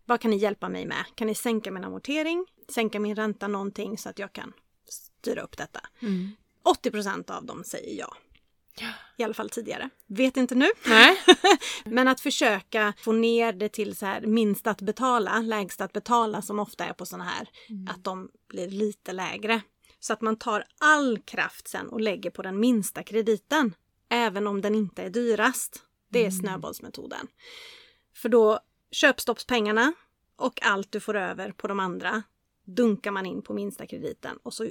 Speaker 2: Vad kan ni hjälpa mig med? Kan ni sänka min amortering? Sänka min ränta någonting så att jag kan styra upp detta?
Speaker 1: Mm.
Speaker 2: 80 av dem säger ja. I alla fall tidigare. Vet inte nu.
Speaker 1: Nej.
Speaker 2: Men att försöka få ner det till så här minst att betala, lägst att betala som ofta är på såna här, att de blir lite lägre. Så att man tar all kraft sen och lägger på den minsta krediten, även om den inte är dyrast. Det är snöbollsmetoden. För då köpstoppspengarna och allt du får över på de andra dunkar man in på minsta krediten och så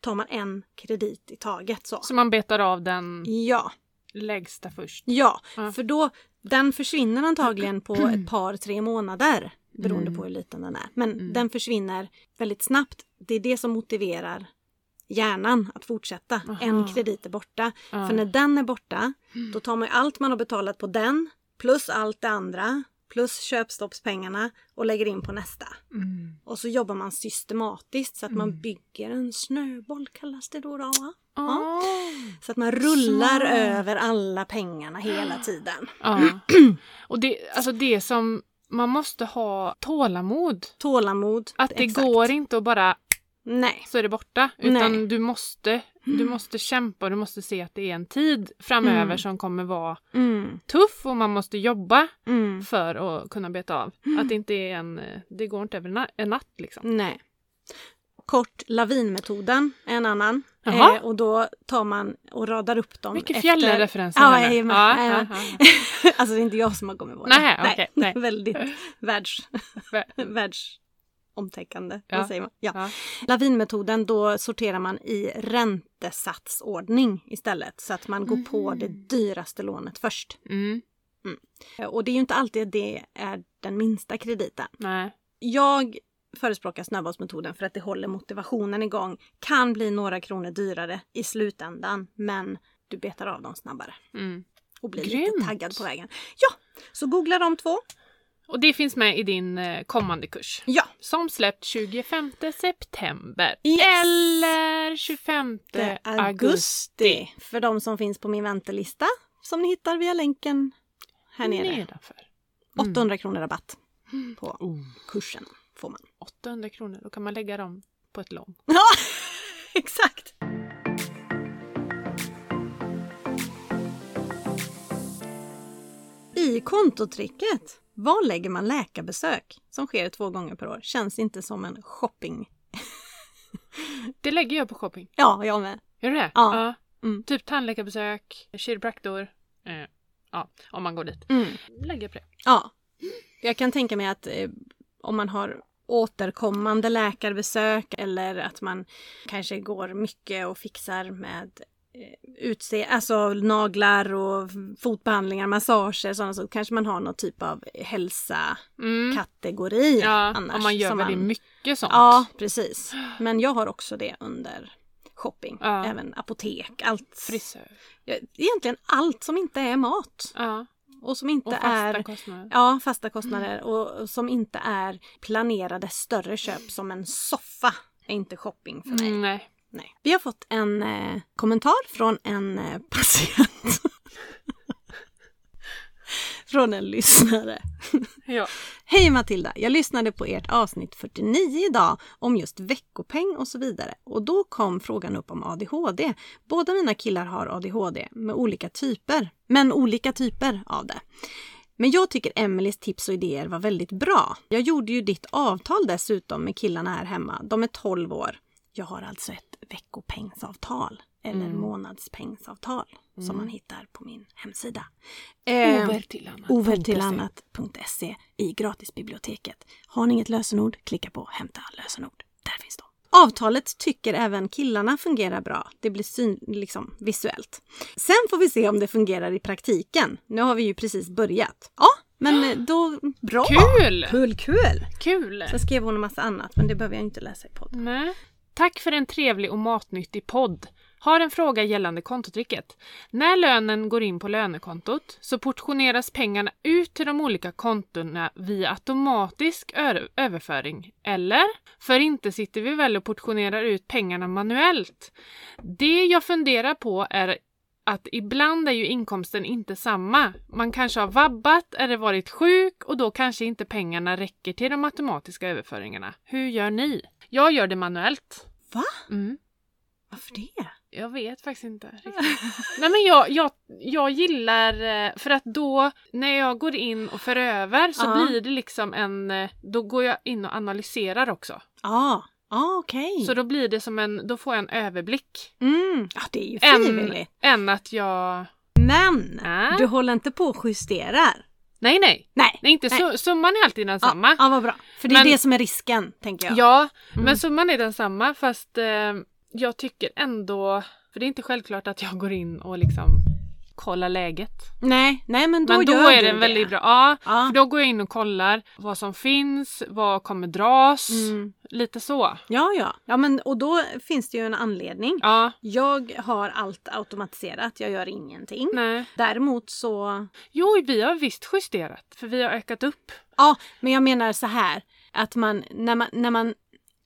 Speaker 2: tar man en kredit i taget. Så.
Speaker 1: Så man betar av den
Speaker 2: Ja.
Speaker 1: lägsta först.
Speaker 2: Ja,
Speaker 1: Ja.
Speaker 2: för då, den försvinner antagligen på ett par, tre månader. Beroende
Speaker 1: Mm.
Speaker 2: på hur liten den är. Men
Speaker 1: Mm.
Speaker 2: den försvinner väldigt snabbt. Det är det som motiverar hjärnan att fortsätta.
Speaker 1: Aha.
Speaker 2: En kredit är borta.
Speaker 1: Ja. Mm.
Speaker 2: För när den är borta, då tar man ju allt man har betalat på den, plus allt det andra, plus köpstoppspengarna och lägger in på nästa.
Speaker 1: Mm.
Speaker 2: Och så jobbar man systematiskt så att man
Speaker 1: Mm.
Speaker 2: bygger en snöboll kallas det då. då va?
Speaker 1: Åh.
Speaker 2: Så att man rullar
Speaker 1: Smart.
Speaker 2: över alla pengarna hela tiden.
Speaker 1: Ja. Och det, alltså det som, man måste ha tålamod.
Speaker 2: Tålamod.
Speaker 1: Att det
Speaker 2: exakt.
Speaker 1: går inte att bara
Speaker 2: Nej.
Speaker 1: så är det borta. Utan
Speaker 2: Nej.
Speaker 1: du måste, du måste kämpa och du måste se att det är en tid framöver
Speaker 2: Mm.
Speaker 1: som kommer vara
Speaker 2: Mm.
Speaker 1: tuff och man måste jobba
Speaker 2: Mm.
Speaker 1: för att kunna beta av. Att det inte är en, eh, det går inte över na- en natt liksom.
Speaker 2: Nej. Kort lavinmetoden är en annan.
Speaker 1: Jaha.
Speaker 2: Eh, och då tar man och radar upp dem.
Speaker 1: Mycket
Speaker 2: efter-
Speaker 1: fjällreferenser.
Speaker 2: Ja,
Speaker 1: här nu.
Speaker 2: jajamän,
Speaker 1: Ja,
Speaker 2: jajamän.
Speaker 1: ja, ja.
Speaker 2: alltså det är inte jag som har kommit på det.
Speaker 1: Nej, okej, nej.
Speaker 2: Väldigt världs...
Speaker 1: Eh. Vä-
Speaker 2: världs omtänkande.
Speaker 1: Ja.
Speaker 2: Vad säger man? Ja.
Speaker 1: Ja.
Speaker 2: Lavinmetoden, då sorterar man i räntesatsordning istället. Så att man går på
Speaker 1: Mhm.
Speaker 2: det dyraste lånet först. Eh,
Speaker 1: Mm.
Speaker 2: Och det är ju inte alltid det är den minsta krediten.
Speaker 1: Nej.
Speaker 2: Jag förespråkar snöbollsmetoden för att det håller motivationen igång. Kan bli några kronor dyrare i slutändan, men du betar av dem snabbare
Speaker 1: Mm.
Speaker 2: och blir
Speaker 1: Grymt.
Speaker 2: lite taggad på vägen. Ja, så googla de två.
Speaker 1: Och det finns med i din eh, kommande kurs.
Speaker 2: Ja,
Speaker 1: Som släppt 25 september.
Speaker 2: Yes.
Speaker 1: Eller 25
Speaker 2: det är
Speaker 1: augusti.
Speaker 2: augusti. För de som finns på min väntelista som ni hittar via länken här nere.
Speaker 1: Nedanför. Mm.
Speaker 2: 800 kronor rabatt på
Speaker 1: Oh,
Speaker 2: kursen får man.
Speaker 1: 800 kronor, då kan man lägga dem på ett lån.
Speaker 2: Ja, exakt. I kontotricket, var lägger man läkarbesök som sker två gånger per år? Känns inte som en shopping.
Speaker 1: Det lägger jag på shopping.
Speaker 2: Ja, jag med.
Speaker 1: Gör du det?
Speaker 2: Ja. Mm.
Speaker 1: Typ tandläkarbesök, kiropraktor. Eh, ja, om man går dit. Lägger på det.
Speaker 2: Ja. Jag kan tänka mig att eh, om man har återkommande läkarbesök eller att man kanske går mycket och fixar med eh, utse, alltså naglar och fotbehandlingar, massager sådana så kanske man har någon typ av hälsa-kategori
Speaker 1: Mm. Ja,
Speaker 2: annars.
Speaker 1: om man gör
Speaker 2: som
Speaker 1: väldigt mycket sånt.
Speaker 2: Ja, precis. Men jag har också det under shopping,
Speaker 1: Ja.
Speaker 2: även apotek, allt.
Speaker 1: Frisör.
Speaker 2: Ja, Egentligen allt som inte är mat
Speaker 1: Ja,
Speaker 2: och som inte
Speaker 1: och fasta
Speaker 2: är
Speaker 1: kostnader.
Speaker 2: Ja, fasta kostnader och och som inte är planerade större köp som en soffa är inte shopping för mig.
Speaker 1: Mm, nej.
Speaker 2: Nej. Vi har fått en eh, kommentar från en eh, patient. från en lyssnare.
Speaker 1: Ja.
Speaker 2: Hej Matilda! Jag lyssnade på ert avsnitt 49 idag om just veckopeng och så vidare och då kom frågan upp om ADHD. Båda mina killar har ADHD med olika typer, men olika typer av det. Men jag tycker Emelies tips och idéer var väldigt bra. Jag gjorde ju ditt avtal dessutom med killarna här hemma. De är 12 år. Jag har alltså ett veckopengsavtal eller
Speaker 1: Mm.
Speaker 2: månadspengsavtal som
Speaker 1: Mm.
Speaker 2: man hittar på min hemsida. Ehm,
Speaker 1: Over till annat.
Speaker 2: Overtillannat.se i gratisbiblioteket. Har ni inget lösenord, klicka på hämta lösenord. Där finns de. Avtalet tycker även killarna fungerar bra. Det blir syn, liksom, visuellt. Sen får vi se om det fungerar i praktiken. Nu har vi ju precis börjat. Ja, men eh, då... Bra!
Speaker 1: Kul!
Speaker 2: Kul, kul!
Speaker 1: Kul!
Speaker 2: Sen skrev hon en massa annat, men det behöver jag inte läsa i podden.
Speaker 1: Nej. Mm. Tack för en trevlig och matnyttig podd. Har en fråga gällande kontotricket. När lönen går in på lönekontot så portioneras pengarna ut till de olika kontona via automatisk ö- överföring. Eller? För inte sitter vi väl och portionerar ut pengarna manuellt. Det jag funderar på är att ibland är ju inkomsten inte samma. Man kanske har vabbat eller varit sjuk och då kanske inte pengarna räcker till de automatiska överföringarna. Hur gör ni? Jag gör det manuellt.
Speaker 2: Va?
Speaker 1: Mm.
Speaker 2: Varför det?
Speaker 1: Jag vet faktiskt inte riktigt. Nej men jag, jag, jag gillar, eh, för att då när jag går in och för över så
Speaker 2: Ja.
Speaker 1: blir det liksom en, eh, då går jag in och analyserar också.
Speaker 2: Ja, ja okej.
Speaker 1: Så då blir det som en, då får jag en överblick.
Speaker 2: Mm. Ja, det är ju
Speaker 1: Än,
Speaker 2: frivilligt.
Speaker 1: än att jag,
Speaker 2: Men!
Speaker 1: Äh?
Speaker 2: Du håller inte på och justerar?
Speaker 1: nej nej.
Speaker 2: Nej.
Speaker 1: Nej, inte Su- summan är alltid densamma.
Speaker 2: Ja, ja, vad bra. För det är
Speaker 1: Men-
Speaker 2: det som är risken, tänker jag.
Speaker 1: Ja,
Speaker 2: Mm.
Speaker 1: men summan är densamma fast eh, jag tycker ändå, för det är inte självklart att jag går in och liksom kollar läget.
Speaker 2: Nej, nej men då
Speaker 1: men då
Speaker 2: gör
Speaker 1: är
Speaker 2: du
Speaker 1: det en väldigt bra, ja,
Speaker 2: Ja.
Speaker 1: för då går jag in och kollar vad som finns, vad kommer dras,
Speaker 2: Mm.
Speaker 1: lite så.
Speaker 2: Ja, ja. ja men, och då finns det ju en anledning.
Speaker 1: Ja,
Speaker 2: Jag har allt automatiserat, jag gör ingenting.
Speaker 1: nej.
Speaker 2: Däremot så...
Speaker 1: Jo, vi har visst justerat för vi har ökat upp.
Speaker 2: Ja, men jag menar så här att man när man, när man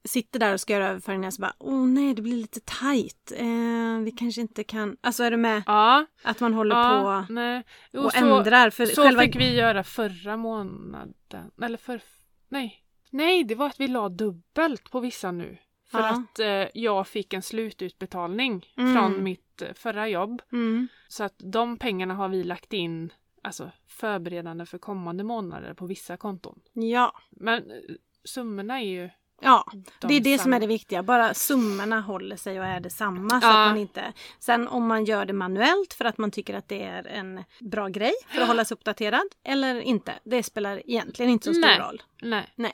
Speaker 2: sitter där och ska göra överföringar så bara åh nej det blir lite tajt. Eh, vi kanske inte kan... Alltså är du med?
Speaker 1: Ja,
Speaker 2: Att man håller
Speaker 1: ja
Speaker 2: på
Speaker 1: nej. Jo,
Speaker 2: och
Speaker 1: så-
Speaker 2: ändrar. För
Speaker 1: Så
Speaker 2: själva...
Speaker 1: fick vi göra förra månaden. Eller för... Nej. Nej, det var att vi la dubbelt på vissa nu. För
Speaker 2: Ja.
Speaker 1: att eh, jag fick en slututbetalning
Speaker 2: Mm.
Speaker 1: från mitt eh, förra jobb.
Speaker 2: Mm.
Speaker 1: Så att de pengarna har vi lagt in, alltså förberedande för kommande månader på vissa konton.
Speaker 2: Ja.
Speaker 1: Men eh, summorna är ju...
Speaker 2: Ja.
Speaker 1: de
Speaker 2: det är det som
Speaker 1: samma.
Speaker 2: är det viktiga, bara summorna håller sig och är detsamma. Så
Speaker 1: Ja.
Speaker 2: att man inte... Sen om man gör det manuellt för att man tycker att det är en bra grej för att hålla sig uppdaterad eller inte, det spelar egentligen inte så stor
Speaker 1: Nej.
Speaker 2: roll.
Speaker 1: Nej.
Speaker 2: Nej.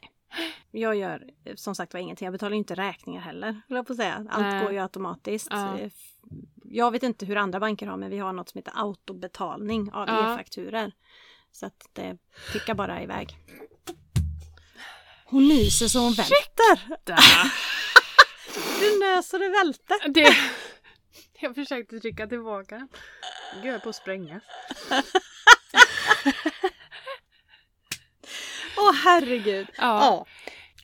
Speaker 2: Jag gör eh, som sagt var ingenting. Jag betalar ju inte räkningar heller, höll jag på att säga. Allt
Speaker 1: Nej.
Speaker 2: går ju automatiskt.
Speaker 1: Ja.
Speaker 2: Eh, f- Jag vet inte hur andra banker har, men vi har något som heter autobetalning av
Speaker 1: Ja.
Speaker 2: e-fakturer. Så att det tickar bara iväg. Hon nyser så hon välter.
Speaker 1: Där.
Speaker 2: Du nös så det välter.
Speaker 1: Det... Jag försökte trycka tillbaka den. Gud, jag är på att sprängas.
Speaker 2: Åh herregud.
Speaker 1: Ja.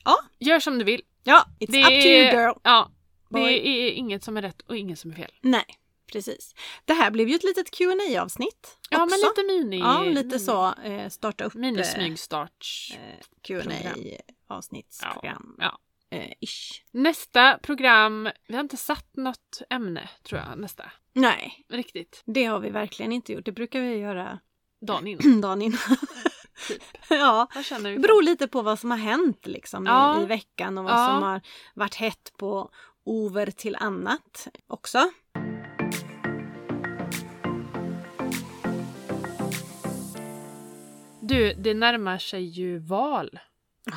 Speaker 2: Ja.
Speaker 1: Gör som du vill.
Speaker 2: Ja, it's up to you girl.
Speaker 1: Ja.
Speaker 2: Boy.
Speaker 1: Det är inget som är rätt och inget som är fel.
Speaker 2: Nej, precis. Det här blev ju ett litet qa avsnitt
Speaker 1: Ja,
Speaker 2: också.
Speaker 1: men lite mini...
Speaker 2: ja, lite så. Eh, starta upp. eh,
Speaker 1: Minismygstart.
Speaker 2: eh,
Speaker 1: Program.
Speaker 2: Q&A avsnittsprogram.
Speaker 1: Ja.
Speaker 2: Eh, ish.
Speaker 1: Nästa program, vi har inte satt något ämne tror jag nästa.
Speaker 2: Nej,
Speaker 1: Riktigt.
Speaker 2: det har vi verkligen inte gjort. Det brukar vi göra
Speaker 1: Dagen innan.
Speaker 2: dagen innan.
Speaker 1: Typ.
Speaker 2: ja,
Speaker 1: Vad känner vi?
Speaker 2: det
Speaker 1: för?
Speaker 2: beror lite på vad som har hänt liksom
Speaker 1: Ja.
Speaker 2: i, i veckan och vad
Speaker 1: Ja.
Speaker 2: som har varit hett på over till annat också.
Speaker 1: Du, det närmar sig ju val.
Speaker 2: Ah.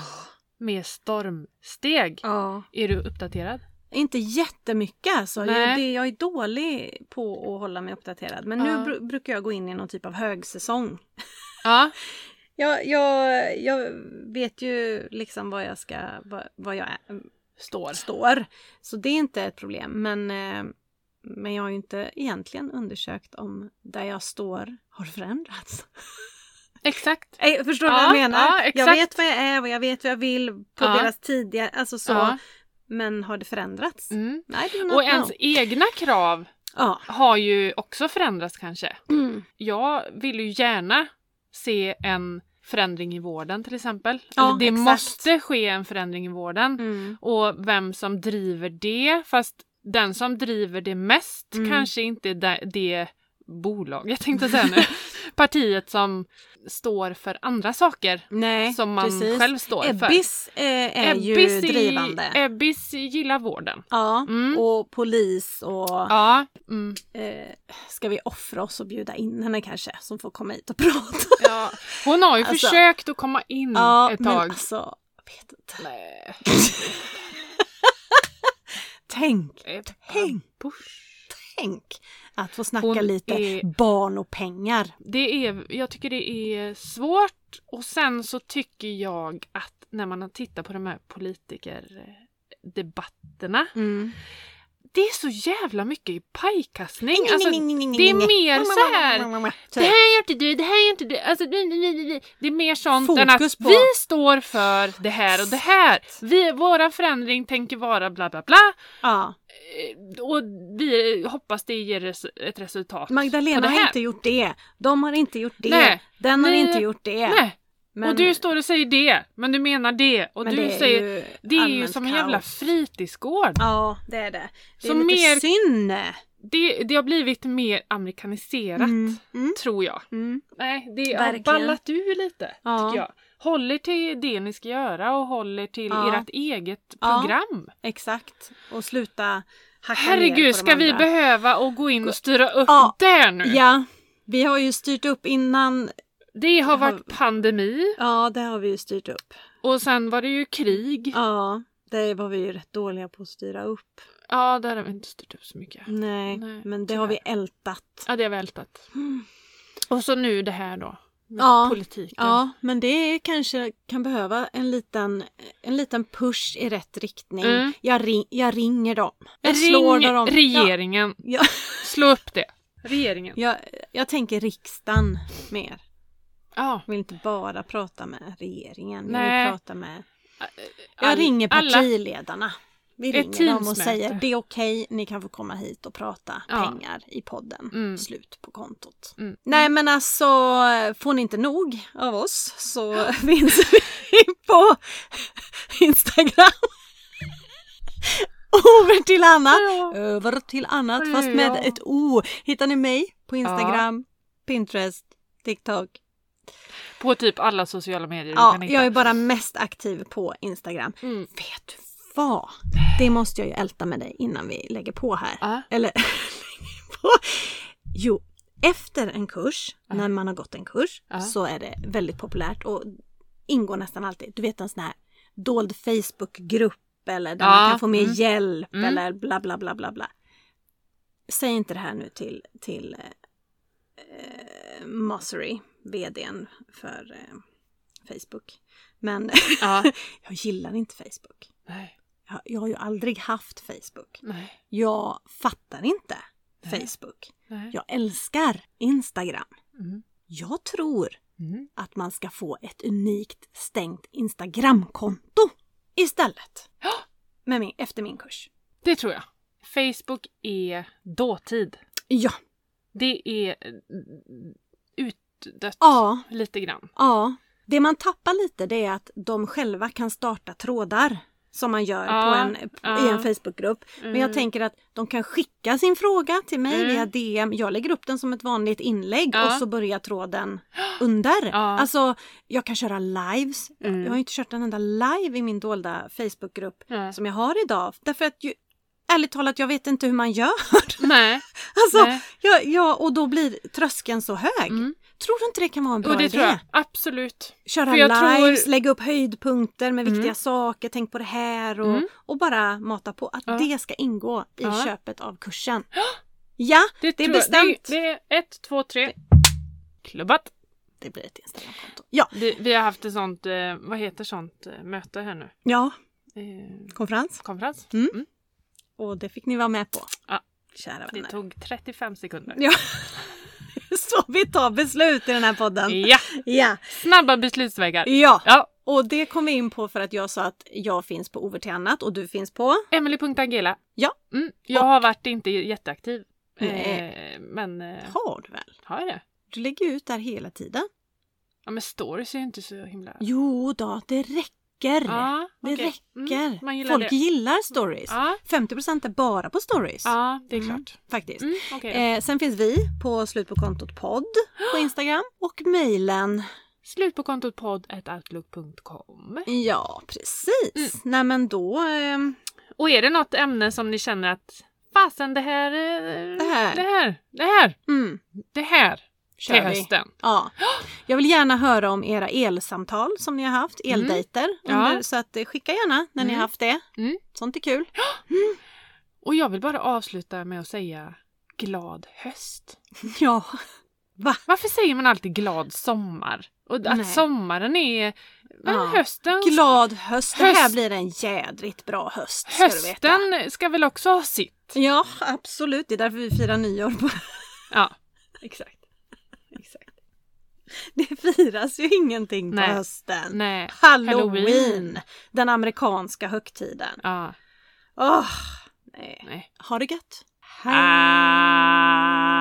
Speaker 1: Med stormsteg.
Speaker 2: Ja.
Speaker 1: Är du uppdaterad?
Speaker 2: Inte jättemycket alltså.
Speaker 1: Nej.
Speaker 2: Jag, det, jag är dålig på att hålla mig uppdaterad. Men nu
Speaker 1: Ja.
Speaker 2: bru- brukar jag gå in i någon typ av högsäsong.
Speaker 1: Ja.
Speaker 2: Jag, jag, jag vet ju liksom vad jag ska, vad, vad jag är,
Speaker 1: Står.
Speaker 2: står. Så det är inte ett problem. Men, eh, men jag har ju inte egentligen undersökt om där jag står har förändrats.
Speaker 1: Exakt.
Speaker 2: Nej, förstår du
Speaker 1: Ja,
Speaker 2: vad jag menar?
Speaker 1: ja,
Speaker 2: jag
Speaker 1: exakt.
Speaker 2: vet vad jag är och jag vet vad jag vill på
Speaker 1: Ja.
Speaker 2: deras tidiga, alltså så.
Speaker 1: Ja.
Speaker 2: Men har det förändrats?
Speaker 1: Mm.
Speaker 2: Nej, det är
Speaker 1: Och ens egna krav
Speaker 2: Ja.
Speaker 1: har ju också förändrats kanske. Jag vill ju gärna se en förändring i vården till exempel.
Speaker 2: Ja,
Speaker 1: Eller det
Speaker 2: exakt.
Speaker 1: måste ske en förändring i vården.
Speaker 2: Mm.
Speaker 1: Och vem som driver det. Fast den som driver det mest
Speaker 2: Mm.
Speaker 1: kanske inte är det, det bolaget tänkte jag säga nu. Partiet som står för andra saker
Speaker 2: Nej,
Speaker 1: som man
Speaker 2: precis.
Speaker 1: själv står för.
Speaker 2: Ebbis eh, är ju
Speaker 1: Ebbis i-
Speaker 2: drivande.
Speaker 1: Ebbis gillar vården.
Speaker 2: ja,
Speaker 1: Mm.
Speaker 2: och polis och
Speaker 1: Ja. Mm.
Speaker 2: eh, ska vi offra oss och bjuda in henne kanske som får komma hit och prata.
Speaker 1: ja. Hon har ju
Speaker 2: Alltså.
Speaker 1: försökt att komma in
Speaker 2: Ja,
Speaker 1: ett
Speaker 2: men
Speaker 1: tag.
Speaker 2: alltså, jag vet inte.
Speaker 1: Nej.
Speaker 2: Tänk,
Speaker 1: Ett
Speaker 2: Tänk.
Speaker 1: push.
Speaker 2: tänk att få snacka
Speaker 1: Hon
Speaker 2: lite
Speaker 1: är-
Speaker 2: barn och pengar.
Speaker 1: Det är, jag tycker det är svårt och sen så tycker jag att när man tittar på de här politikerdebatterna.
Speaker 2: Mm.
Speaker 1: Det är så jävla mycket pajkastning.
Speaker 2: Nej,
Speaker 1: Alltså,
Speaker 2: nej, nej, nej, nej,
Speaker 1: det är
Speaker 2: nej.
Speaker 1: mer så här. Det
Speaker 2: Typ.
Speaker 1: här gör inte du, det här gör inte du. Alltså, du, du, du, du. Det är mer sånt än
Speaker 2: Fokus
Speaker 1: att
Speaker 2: på-
Speaker 1: vi står för det här och det här. Vi, våra förändring tänker vara bla bla bla.
Speaker 2: Ja.
Speaker 1: Eh, Och vi hoppas det ger res- ett resultat. på
Speaker 2: Magdalena
Speaker 1: det här.
Speaker 2: har inte gjort det. De har inte gjort det.
Speaker 1: Nej.
Speaker 2: Den har
Speaker 1: Nej.
Speaker 2: inte gjort det.
Speaker 1: Nej.
Speaker 2: Men-
Speaker 1: Och du står och säger det, men du menar det. Och
Speaker 2: men
Speaker 1: du
Speaker 2: det är
Speaker 1: säger...
Speaker 2: ju
Speaker 1: det är ju
Speaker 2: allmänt
Speaker 1: som en jävla
Speaker 2: kaos.
Speaker 1: fritidsgård.
Speaker 2: Ja, det är det. Det är
Speaker 1: Så
Speaker 2: lite
Speaker 1: mer-
Speaker 2: synd.
Speaker 1: Det, det har blivit mer amerikaniserat,
Speaker 2: Mm, mm,
Speaker 1: tror jag.
Speaker 2: mm.
Speaker 1: Nej, det har
Speaker 2: Verkligen.
Speaker 1: ballat ur lite,
Speaker 2: Ja.
Speaker 1: tycker jag. Håller till det ni ska göra och håller till
Speaker 2: Ja.
Speaker 1: ert eget
Speaker 2: Ja.
Speaker 1: program.
Speaker 2: Exakt. Och sluta hacka ner
Speaker 1: Herregud,
Speaker 2: på de
Speaker 1: ska vi
Speaker 2: andra.
Speaker 1: behöva att gå in och styra upp
Speaker 2: Ja.
Speaker 1: där nu?
Speaker 2: Ja, vi har ju styrt upp innan.
Speaker 1: Det har
Speaker 2: Har-
Speaker 1: varit pandemi
Speaker 2: Ja, det har vi ju styrt upp.
Speaker 1: och sen var det ju krig. Ja,
Speaker 2: Ja, det var vi ju rätt dåliga på att styra upp.
Speaker 1: där har vi inte styrt upp så mycket.
Speaker 2: Nej,
Speaker 1: Nej,
Speaker 2: men det har vi ältat.
Speaker 1: Ja, det har vältat. Och så nu det här då. Med
Speaker 2: Ja.
Speaker 1: politiken.
Speaker 2: Ja, men det kanske kan behöva en liten, en liten push i rätt riktning.
Speaker 1: Mm.
Speaker 2: Jag, ring, jag ringer dem. Jag slår
Speaker 1: Ring
Speaker 2: när de-
Speaker 1: regeringen.
Speaker 2: Ja, ja,
Speaker 1: Slå upp det. Regeringen.
Speaker 2: jag, jag tänker riksdagen mer.
Speaker 1: Ja.
Speaker 2: Jag vill inte bara prata med regeringen. Jag
Speaker 1: Nej.
Speaker 2: vill prata med... Jag
Speaker 1: All-
Speaker 2: ringer
Speaker 1: alla-
Speaker 2: partiledarna. Vi
Speaker 1: Ett
Speaker 2: ringer dem och
Speaker 1: Teamsmöte.
Speaker 2: säger det är okej, ni kan få komma hit och prata
Speaker 1: Ja.
Speaker 2: pengar i podden.
Speaker 1: Mm.
Speaker 2: Slut på kontot.
Speaker 1: Mm.
Speaker 2: Nej men alltså, får ni inte nog av oss så finns vi på Instagram. Över till annat.
Speaker 1: Ja.
Speaker 2: Över till annat
Speaker 1: Ja,
Speaker 2: fast med
Speaker 1: ja.
Speaker 2: ett O. Hittar ni mig på Instagram, Pinterest, TikTok.
Speaker 1: På typ alla sociala medier du
Speaker 2: Ja,
Speaker 1: kan hitta.
Speaker 2: jag är bara mest aktiv på Instagram.
Speaker 1: Mm.
Speaker 2: Vet du vad? Det måste jag ju älta med dig innan vi lägger på här.
Speaker 1: Ja.
Speaker 2: Eller lägger på. Jo, efter en kurs, när man har gått en kurs,
Speaker 1: Ja.
Speaker 2: så är det väldigt populärt och ingår nästan alltid. Du vet en sån här dold Facebookgrupp eller där
Speaker 1: Ja,
Speaker 2: man kan få mer
Speaker 1: mm.
Speaker 2: hjälp
Speaker 1: Mm.
Speaker 2: eller bla bla bla bla bla. Säg inte det här nu till, till eh, eh, Mossery, vdn för eh, Facebook. Men
Speaker 1: Ja.
Speaker 2: jag gillar inte Facebook.
Speaker 1: Nej.
Speaker 2: Jag, jag har ju aldrig haft Facebook.
Speaker 1: Nej.
Speaker 2: Jag fattar inte
Speaker 1: Nej.
Speaker 2: Facebook.
Speaker 1: Nej.
Speaker 2: Jag älskar Instagram.
Speaker 1: Mm.
Speaker 2: Jag tror
Speaker 1: Mm.
Speaker 2: att man ska få ett unikt stängt Instagramkonto istället.
Speaker 1: Ja.
Speaker 2: Med min, efter min kurs.
Speaker 1: Det tror jag. Facebook är dåtid.
Speaker 2: Ja,
Speaker 1: Det är eh, utdött
Speaker 2: ja,
Speaker 1: lite grann.
Speaker 2: ja. Det man tappar lite det är att de själva kan starta trådar som man gör
Speaker 1: Ja,
Speaker 2: på en, i
Speaker 1: ja.
Speaker 2: en Facebookgrupp. Men jag
Speaker 1: Mm.
Speaker 2: tänker att de kan skicka sin fråga till mig
Speaker 1: Mm.
Speaker 2: via DM. Jag lägger upp den som ett vanligt inlägg
Speaker 1: Ja.
Speaker 2: och så börjar tråden under.
Speaker 1: Ja.
Speaker 2: Alltså, jag kan köra lives. Jag-
Speaker 1: Mm.
Speaker 2: Jag har ju inte kört en enda live i min dolda Facebookgrupp
Speaker 1: Nej.
Speaker 2: som jag har idag. Därför att ju, ärligt talat, jag vet inte hur man gör.
Speaker 1: Nej.
Speaker 2: Alltså,
Speaker 1: Nej.
Speaker 2: jag, jag, och då blir tröskeln så hög.
Speaker 1: Mm.
Speaker 2: Tror du inte det kan vara en bra
Speaker 1: Och det
Speaker 2: idé?
Speaker 1: tror jag absolut.
Speaker 2: Köra
Speaker 1: För jag
Speaker 2: lives,
Speaker 1: tror-
Speaker 2: lägga upp höjdpunkter med
Speaker 1: Mm.
Speaker 2: viktiga saker, tänk på det här och,
Speaker 1: Mm.
Speaker 2: och bara mata på att
Speaker 1: Ja.
Speaker 2: det ska ingå i
Speaker 1: Ja.
Speaker 2: köpet av kursen. Ja, det,
Speaker 1: tror
Speaker 2: är
Speaker 1: jag.
Speaker 2: bestämt. Det,
Speaker 1: Det, det är ett, två, tre. Klubbat.
Speaker 2: blir ett Instagramkonto. Ja,
Speaker 1: Vi, vi har haft ett sånt, eh, vad heter sånt eh, möte här nu?
Speaker 2: ja,
Speaker 1: Eh,
Speaker 2: konferens.
Speaker 1: konferens.
Speaker 2: Mm. Och det fick ni vara med på.
Speaker 1: Ja.
Speaker 2: Kära
Speaker 1: Det
Speaker 2: vänner.
Speaker 1: tog 35 sekunder.
Speaker 2: Ja. Så vi tar beslut i den här podden.
Speaker 1: Ja,
Speaker 2: Ja.
Speaker 1: snabba beslutsvägar.
Speaker 2: Ja.
Speaker 1: Ja,
Speaker 2: Och det kom vi in på för att jag sa att jag finns på OVT annat och du finns på...
Speaker 1: Emily.Angela.
Speaker 2: Ja.
Speaker 1: Mm, jag har varit inte jätteaktiv.
Speaker 2: Nej.
Speaker 1: Eh, men eh,
Speaker 2: Har du väl?
Speaker 1: har jag det?
Speaker 2: Du lägger ju ut där hela tiden.
Speaker 1: Ja men stories är ju inte så himla...
Speaker 2: Jo då, det räcker.
Speaker 1: Ja,
Speaker 2: Det
Speaker 1: okej.
Speaker 2: räcker.
Speaker 1: Mm, man gillar
Speaker 2: Folk
Speaker 1: det.
Speaker 2: gillar stories.
Speaker 1: Ja,
Speaker 2: 50% är bara på stories.
Speaker 1: ja, det är
Speaker 2: Mm.
Speaker 1: klart.
Speaker 2: Faktiskt.
Speaker 1: Mm, okej då.
Speaker 2: Eh, sen finns vi på Slut på kontot podd på Instagram och mejlen.
Speaker 1: Slut på kontot podd.outlook.com.
Speaker 2: Ja, precis.
Speaker 1: Mm.
Speaker 2: Nej men då, ehm,
Speaker 1: Och är det något ämne som ni känner att fasen det här, eh,
Speaker 2: Det här.
Speaker 1: det här, det här,
Speaker 2: mm,
Speaker 1: det här
Speaker 2: kör
Speaker 1: till
Speaker 2: vi.
Speaker 1: hösten.
Speaker 2: Ja. Jag vill gärna höra om era elsamtal som ni har haft, eldejter.
Speaker 1: Mm. Ja.
Speaker 2: Under, så att eh, skicka gärna när ni
Speaker 1: Mm.
Speaker 2: har haft det.
Speaker 1: Mm.
Speaker 2: Sånt är kul.
Speaker 1: Och jag vill bara avsluta med att säga glad höst.
Speaker 2: Ja. Va?
Speaker 1: Varför säger man alltid glad sommar? Och att
Speaker 2: Nej.
Speaker 1: sommaren är men
Speaker 2: Ja.
Speaker 1: hösten.
Speaker 2: Glad höst. Det här
Speaker 1: Höst.
Speaker 2: blir en jädrigt bra höst. Ska du veta.
Speaker 1: hösten ska väl också ha sitt?
Speaker 2: Ja, absolut. Det är därför vi firar nyår. På.
Speaker 1: Ja, exakt. exakt.
Speaker 2: Det firas ju ingenting på
Speaker 1: Nej.
Speaker 2: hösten.
Speaker 1: Nej.
Speaker 2: Halloween.
Speaker 1: Halloween.
Speaker 2: Den amerikanska högtiden.
Speaker 1: Ja,
Speaker 2: Åh, nej.
Speaker 1: nej.
Speaker 2: Ha det gött. Hej.
Speaker 1: Ah.